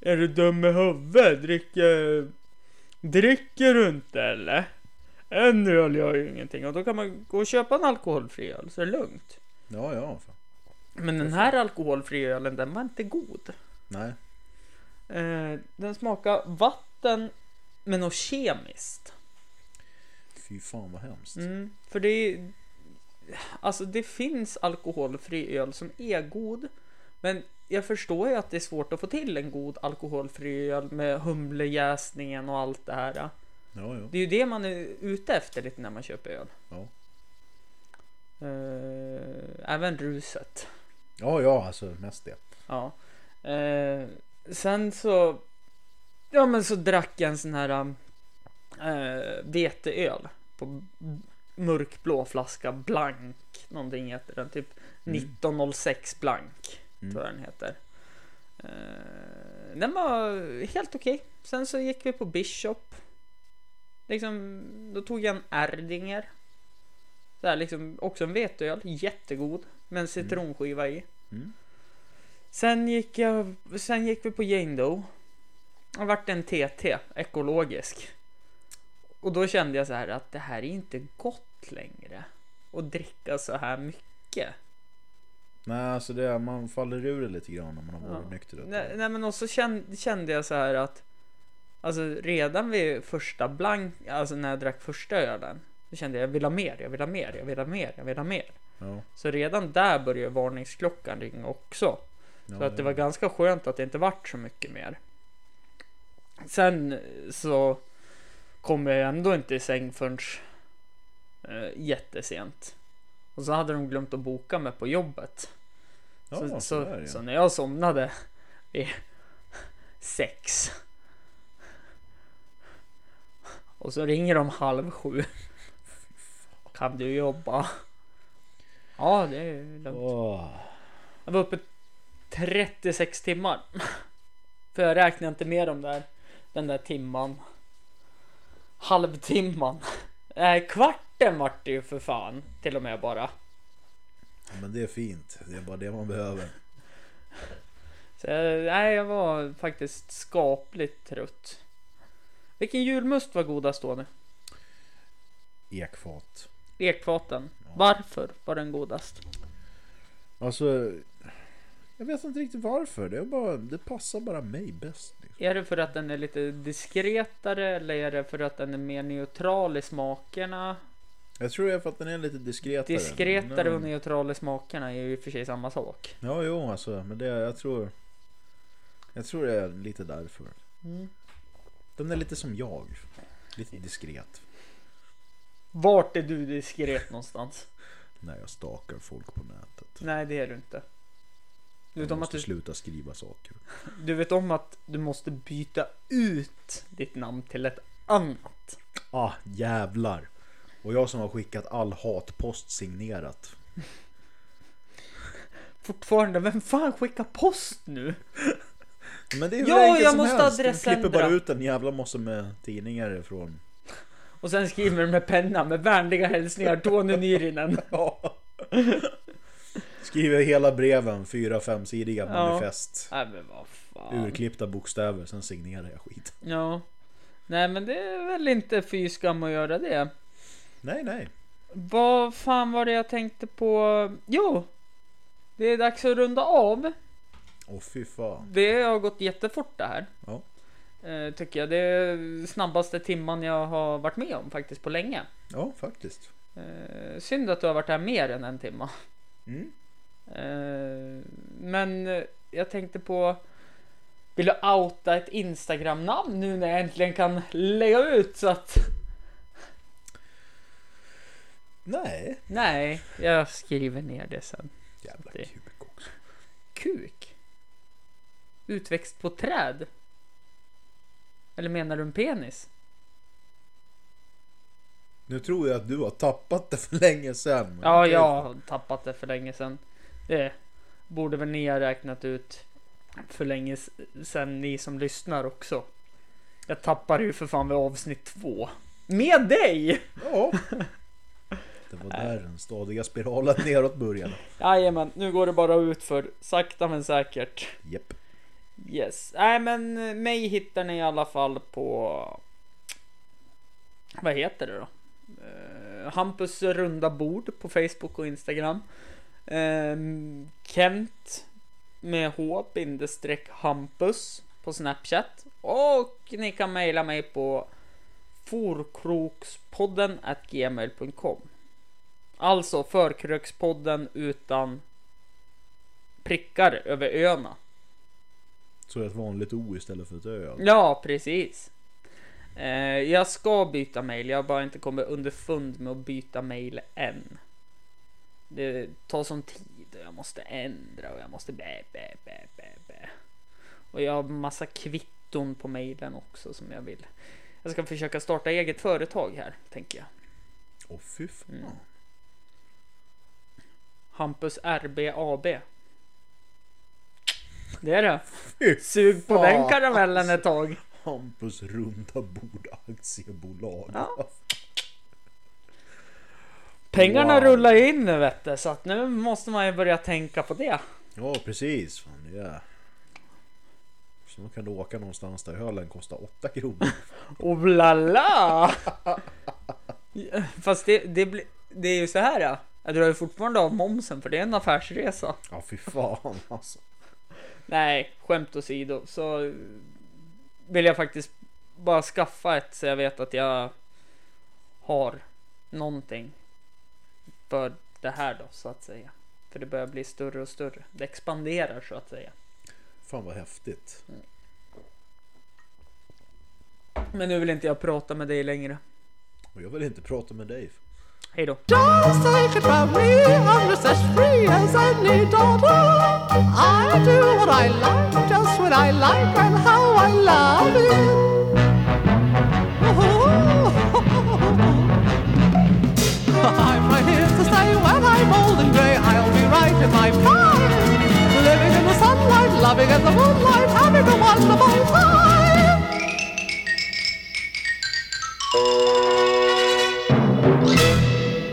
S1: är du dum i huvudet dricker dricker du inte eller en öl gör ju ingenting och då kan man gå och köpa en alkoholfri öl så är det lugnt.
S2: Ja ja. Fan.
S1: Men den här alkoholfria ölen den var inte god.
S2: Nej.
S1: Eh, den smakar vatten men något kemiskt.
S2: Fy fan vad hemskt.
S1: Mm, för det är, Alltså det finns alkoholfri öl som är god. Men jag förstår ju att det är svårt att få till en god alkoholfri öl med humlejäsningen och allt det här.
S2: Ja, ja.
S1: Det är ju det man är ute efter lite när man köper öl.
S2: Ja.
S1: Eh, även ruset.
S2: ja, ja, alltså mest det.
S1: Ja. Eh, sen så... Ja men så drack jag en sån här um, eh, veteöl på mörkblå flaska blank. Någonting heter den. Typ 1906 blank. Tror jag den heter. Eh, den var helt okej. Sen så gick vi på Bishop. Liksom, då tog jag en Erdinger. Så här, liksom, också en veteöl. Jättegod. Med en citronskiva i. Sen gick, jag, sen gick vi på Jane Doe. Det vart en TT, ekologisk. Och då kände jag så här att det här är inte gott längre. Att dricka så här mycket.
S2: Nej, alltså det, man faller ur det lite grann när man har varit nykter. ett
S1: Nej,
S2: tag.
S1: nej men också kände, kände jag så här att Alltså redan vid första blank, alltså när jag drack första ölen. Då kände jag jag vill ha mer, jag vill ha mer, jag vill ha mer, jag vill ha mer.
S2: Ja,
S1: Så redan där började varningsklockan ringa också. Så
S2: ja,
S1: att det
S2: ja.
S1: var ganska skönt att det inte vart så mycket mer. Sen så kom jag ändå inte i säng förrän eh, jättesent. Och så hade de glömt att boka mig på jobbet.
S2: Ja,
S1: så,
S2: så,
S1: så,
S2: där, ja.
S1: så när jag somnade vid sex. Och så ringer de halv sju. Kan du jobba? Ja, det är lugnt.
S2: Åh,
S1: Jag var uppe 36 timmar. För jag räknar inte med de där, den där timman. Halvtimman. Nej, kvarten vart det ju för fan. Till och med bara.
S2: men det är fint. Det är bara det man behöver.
S1: Så jag, nej, jag var faktiskt skapligt trött. Vilken julmust var godast då nu?
S2: Ekfat.
S1: Ekfaten. Varför var den godast?
S2: Alltså, jag vet inte riktigt varför. Det, är bara, det passar bara mig bäst. Liksom.
S1: Är det för att den är lite diskretare eller är det för att den är mer neutral i smakerna?
S2: Jag tror det är för att den är lite diskretare.
S1: Diskretare
S2: Men,
S1: och neutral i smakerna är ju i och för sig samma sak.
S2: Ja, jo, alltså. Men det, jag tror... Jag tror det är lite därför.
S1: Mm.
S2: Den är lite som jag. Lite diskret.
S1: Vart är du diskret någonstans?
S2: När jag stakar folk på nätet.
S1: Nej, det är du inte. Du vet,
S2: Jag
S1: om att
S2: måste
S1: du,
S2: sluta skriva saker.
S1: du vet om att du måste byta ut ditt namn till ett annat.
S2: Ah, jävlar. Och jag som har skickat all hatpost signerat.
S1: Fortfarande, vem fan skickar post nu?
S2: Men det är hur
S1: Ja,
S2: enkelt
S1: jag
S2: som
S1: måste
S2: helst. De
S1: adressändra.
S2: klipper bara ut en jävla massa med tidningar ifrån.
S1: Och sen skriver du med penna med vänliga hälsningar Tony Nyrinen.
S2: Skriver hela breven, fyra femsidiga
S1: Ja.
S2: manifest.
S1: Nej men vad fan.
S2: Urklippta bokstäver, sen signerar jag skit.
S1: Ja. Nej men det är väl inte fy skam att göra det.
S2: Nej, nej.
S1: Vad fan var det jag tänkte på? Jo! Det är dags att runda av.
S2: Åh fy fan.
S1: Det har gått jättefort det här.
S2: Ja.
S1: Eh, tycker jag. Det är snabbaste timman jag har varit med om faktiskt på länge.
S2: Ja, faktiskt.
S1: Eh, synd att du har varit här mer än en timma.
S2: Mm.
S1: Eh, men eh, jag tänkte på... Vill du outa ett Instagram-namn nu när jag äntligen kan lägga ut så att...
S2: Nej.
S1: Nej, jag skriver ner det sen.
S2: Jävla
S1: Det-
S2: kuk också.
S1: Kuk? Utväxt på träd? Eller menar du en penis?
S2: Nu tror jag att du har tappat det för länge sen. men
S1: Ja,
S2: det-
S1: jag har tappat det för länge sedan. Det borde väl ni ha räknat ut för länge s- sedan, ni som lyssnar också. Jag tappade ju för fan vid avsnitt två. Med dig!
S2: Ja. Det var där den stadiga spiralen neråt började.
S1: Jajamän, nu går det bara ut för sakta men säkert.
S2: Japp.
S1: Yes. Nej men mig hittar ni i alla fall på... Vad heter det då? Eh, Hampus runda bord på Facebook och Instagram. Eh, Kent med H bindestreck Hampus på Snapchat. Och ni kan mejla mig på Forkrokspodden at gmail.com Alltså förkrökspodden utan prickar över öna.
S2: Så ett vanligt O istället för ett Ö. alltså.
S1: Ja, precis. Eh, jag ska byta mail, jag har bara inte kommit underfund med att byta mail än. Det tar sån tid och jag måste ändra och jag måste bä, bä, bä, bä, bä. Och jag har massa kvitton på mailen också som jag vill. Jag ska försöka starta eget företag här, tänker jag.
S2: Åh fy fan.
S1: Mm. Hampus RB AB. Det är det.
S2: Fy
S1: Sug på den
S2: fan.
S1: karamellen ett tag.
S2: Hampus runda bord aktiebolag.
S1: Ja. Pengarna
S2: Wow.
S1: rullar ju in nu vet du, så att nu måste man ju börja tänka på det.
S2: Ja, precis. Fan, det är... Så man kan du åka någonstans där ölen kostar 8 kronor.
S1: Oh la la! Fast det, det, blir- det är ju så här ja. Jag drar ju fortfarande av momsen för det är en affärsresa.
S2: Ja, fy fan alltså.
S1: Nej, skämt åsido så eh, vill jag faktiskt bara skaffa ett så jag vet att jag har någonting för det här då så att säga. För det börjar bli större och större. Det expanderar så att säga.
S2: Fan vad häftigt.
S1: Men nu vill inte jag prata med dig längre.
S2: Och jag vill inte prata med dig.
S1: Hej då.
S3: Just take it from me, I'm just as free as any daughter. I do what I like, just when I like, and how I love it. I'm right here to stay when I'm old and grey. I'll be right in my prime, living in the sunlight, loving in the moonlight, having a wonderful time.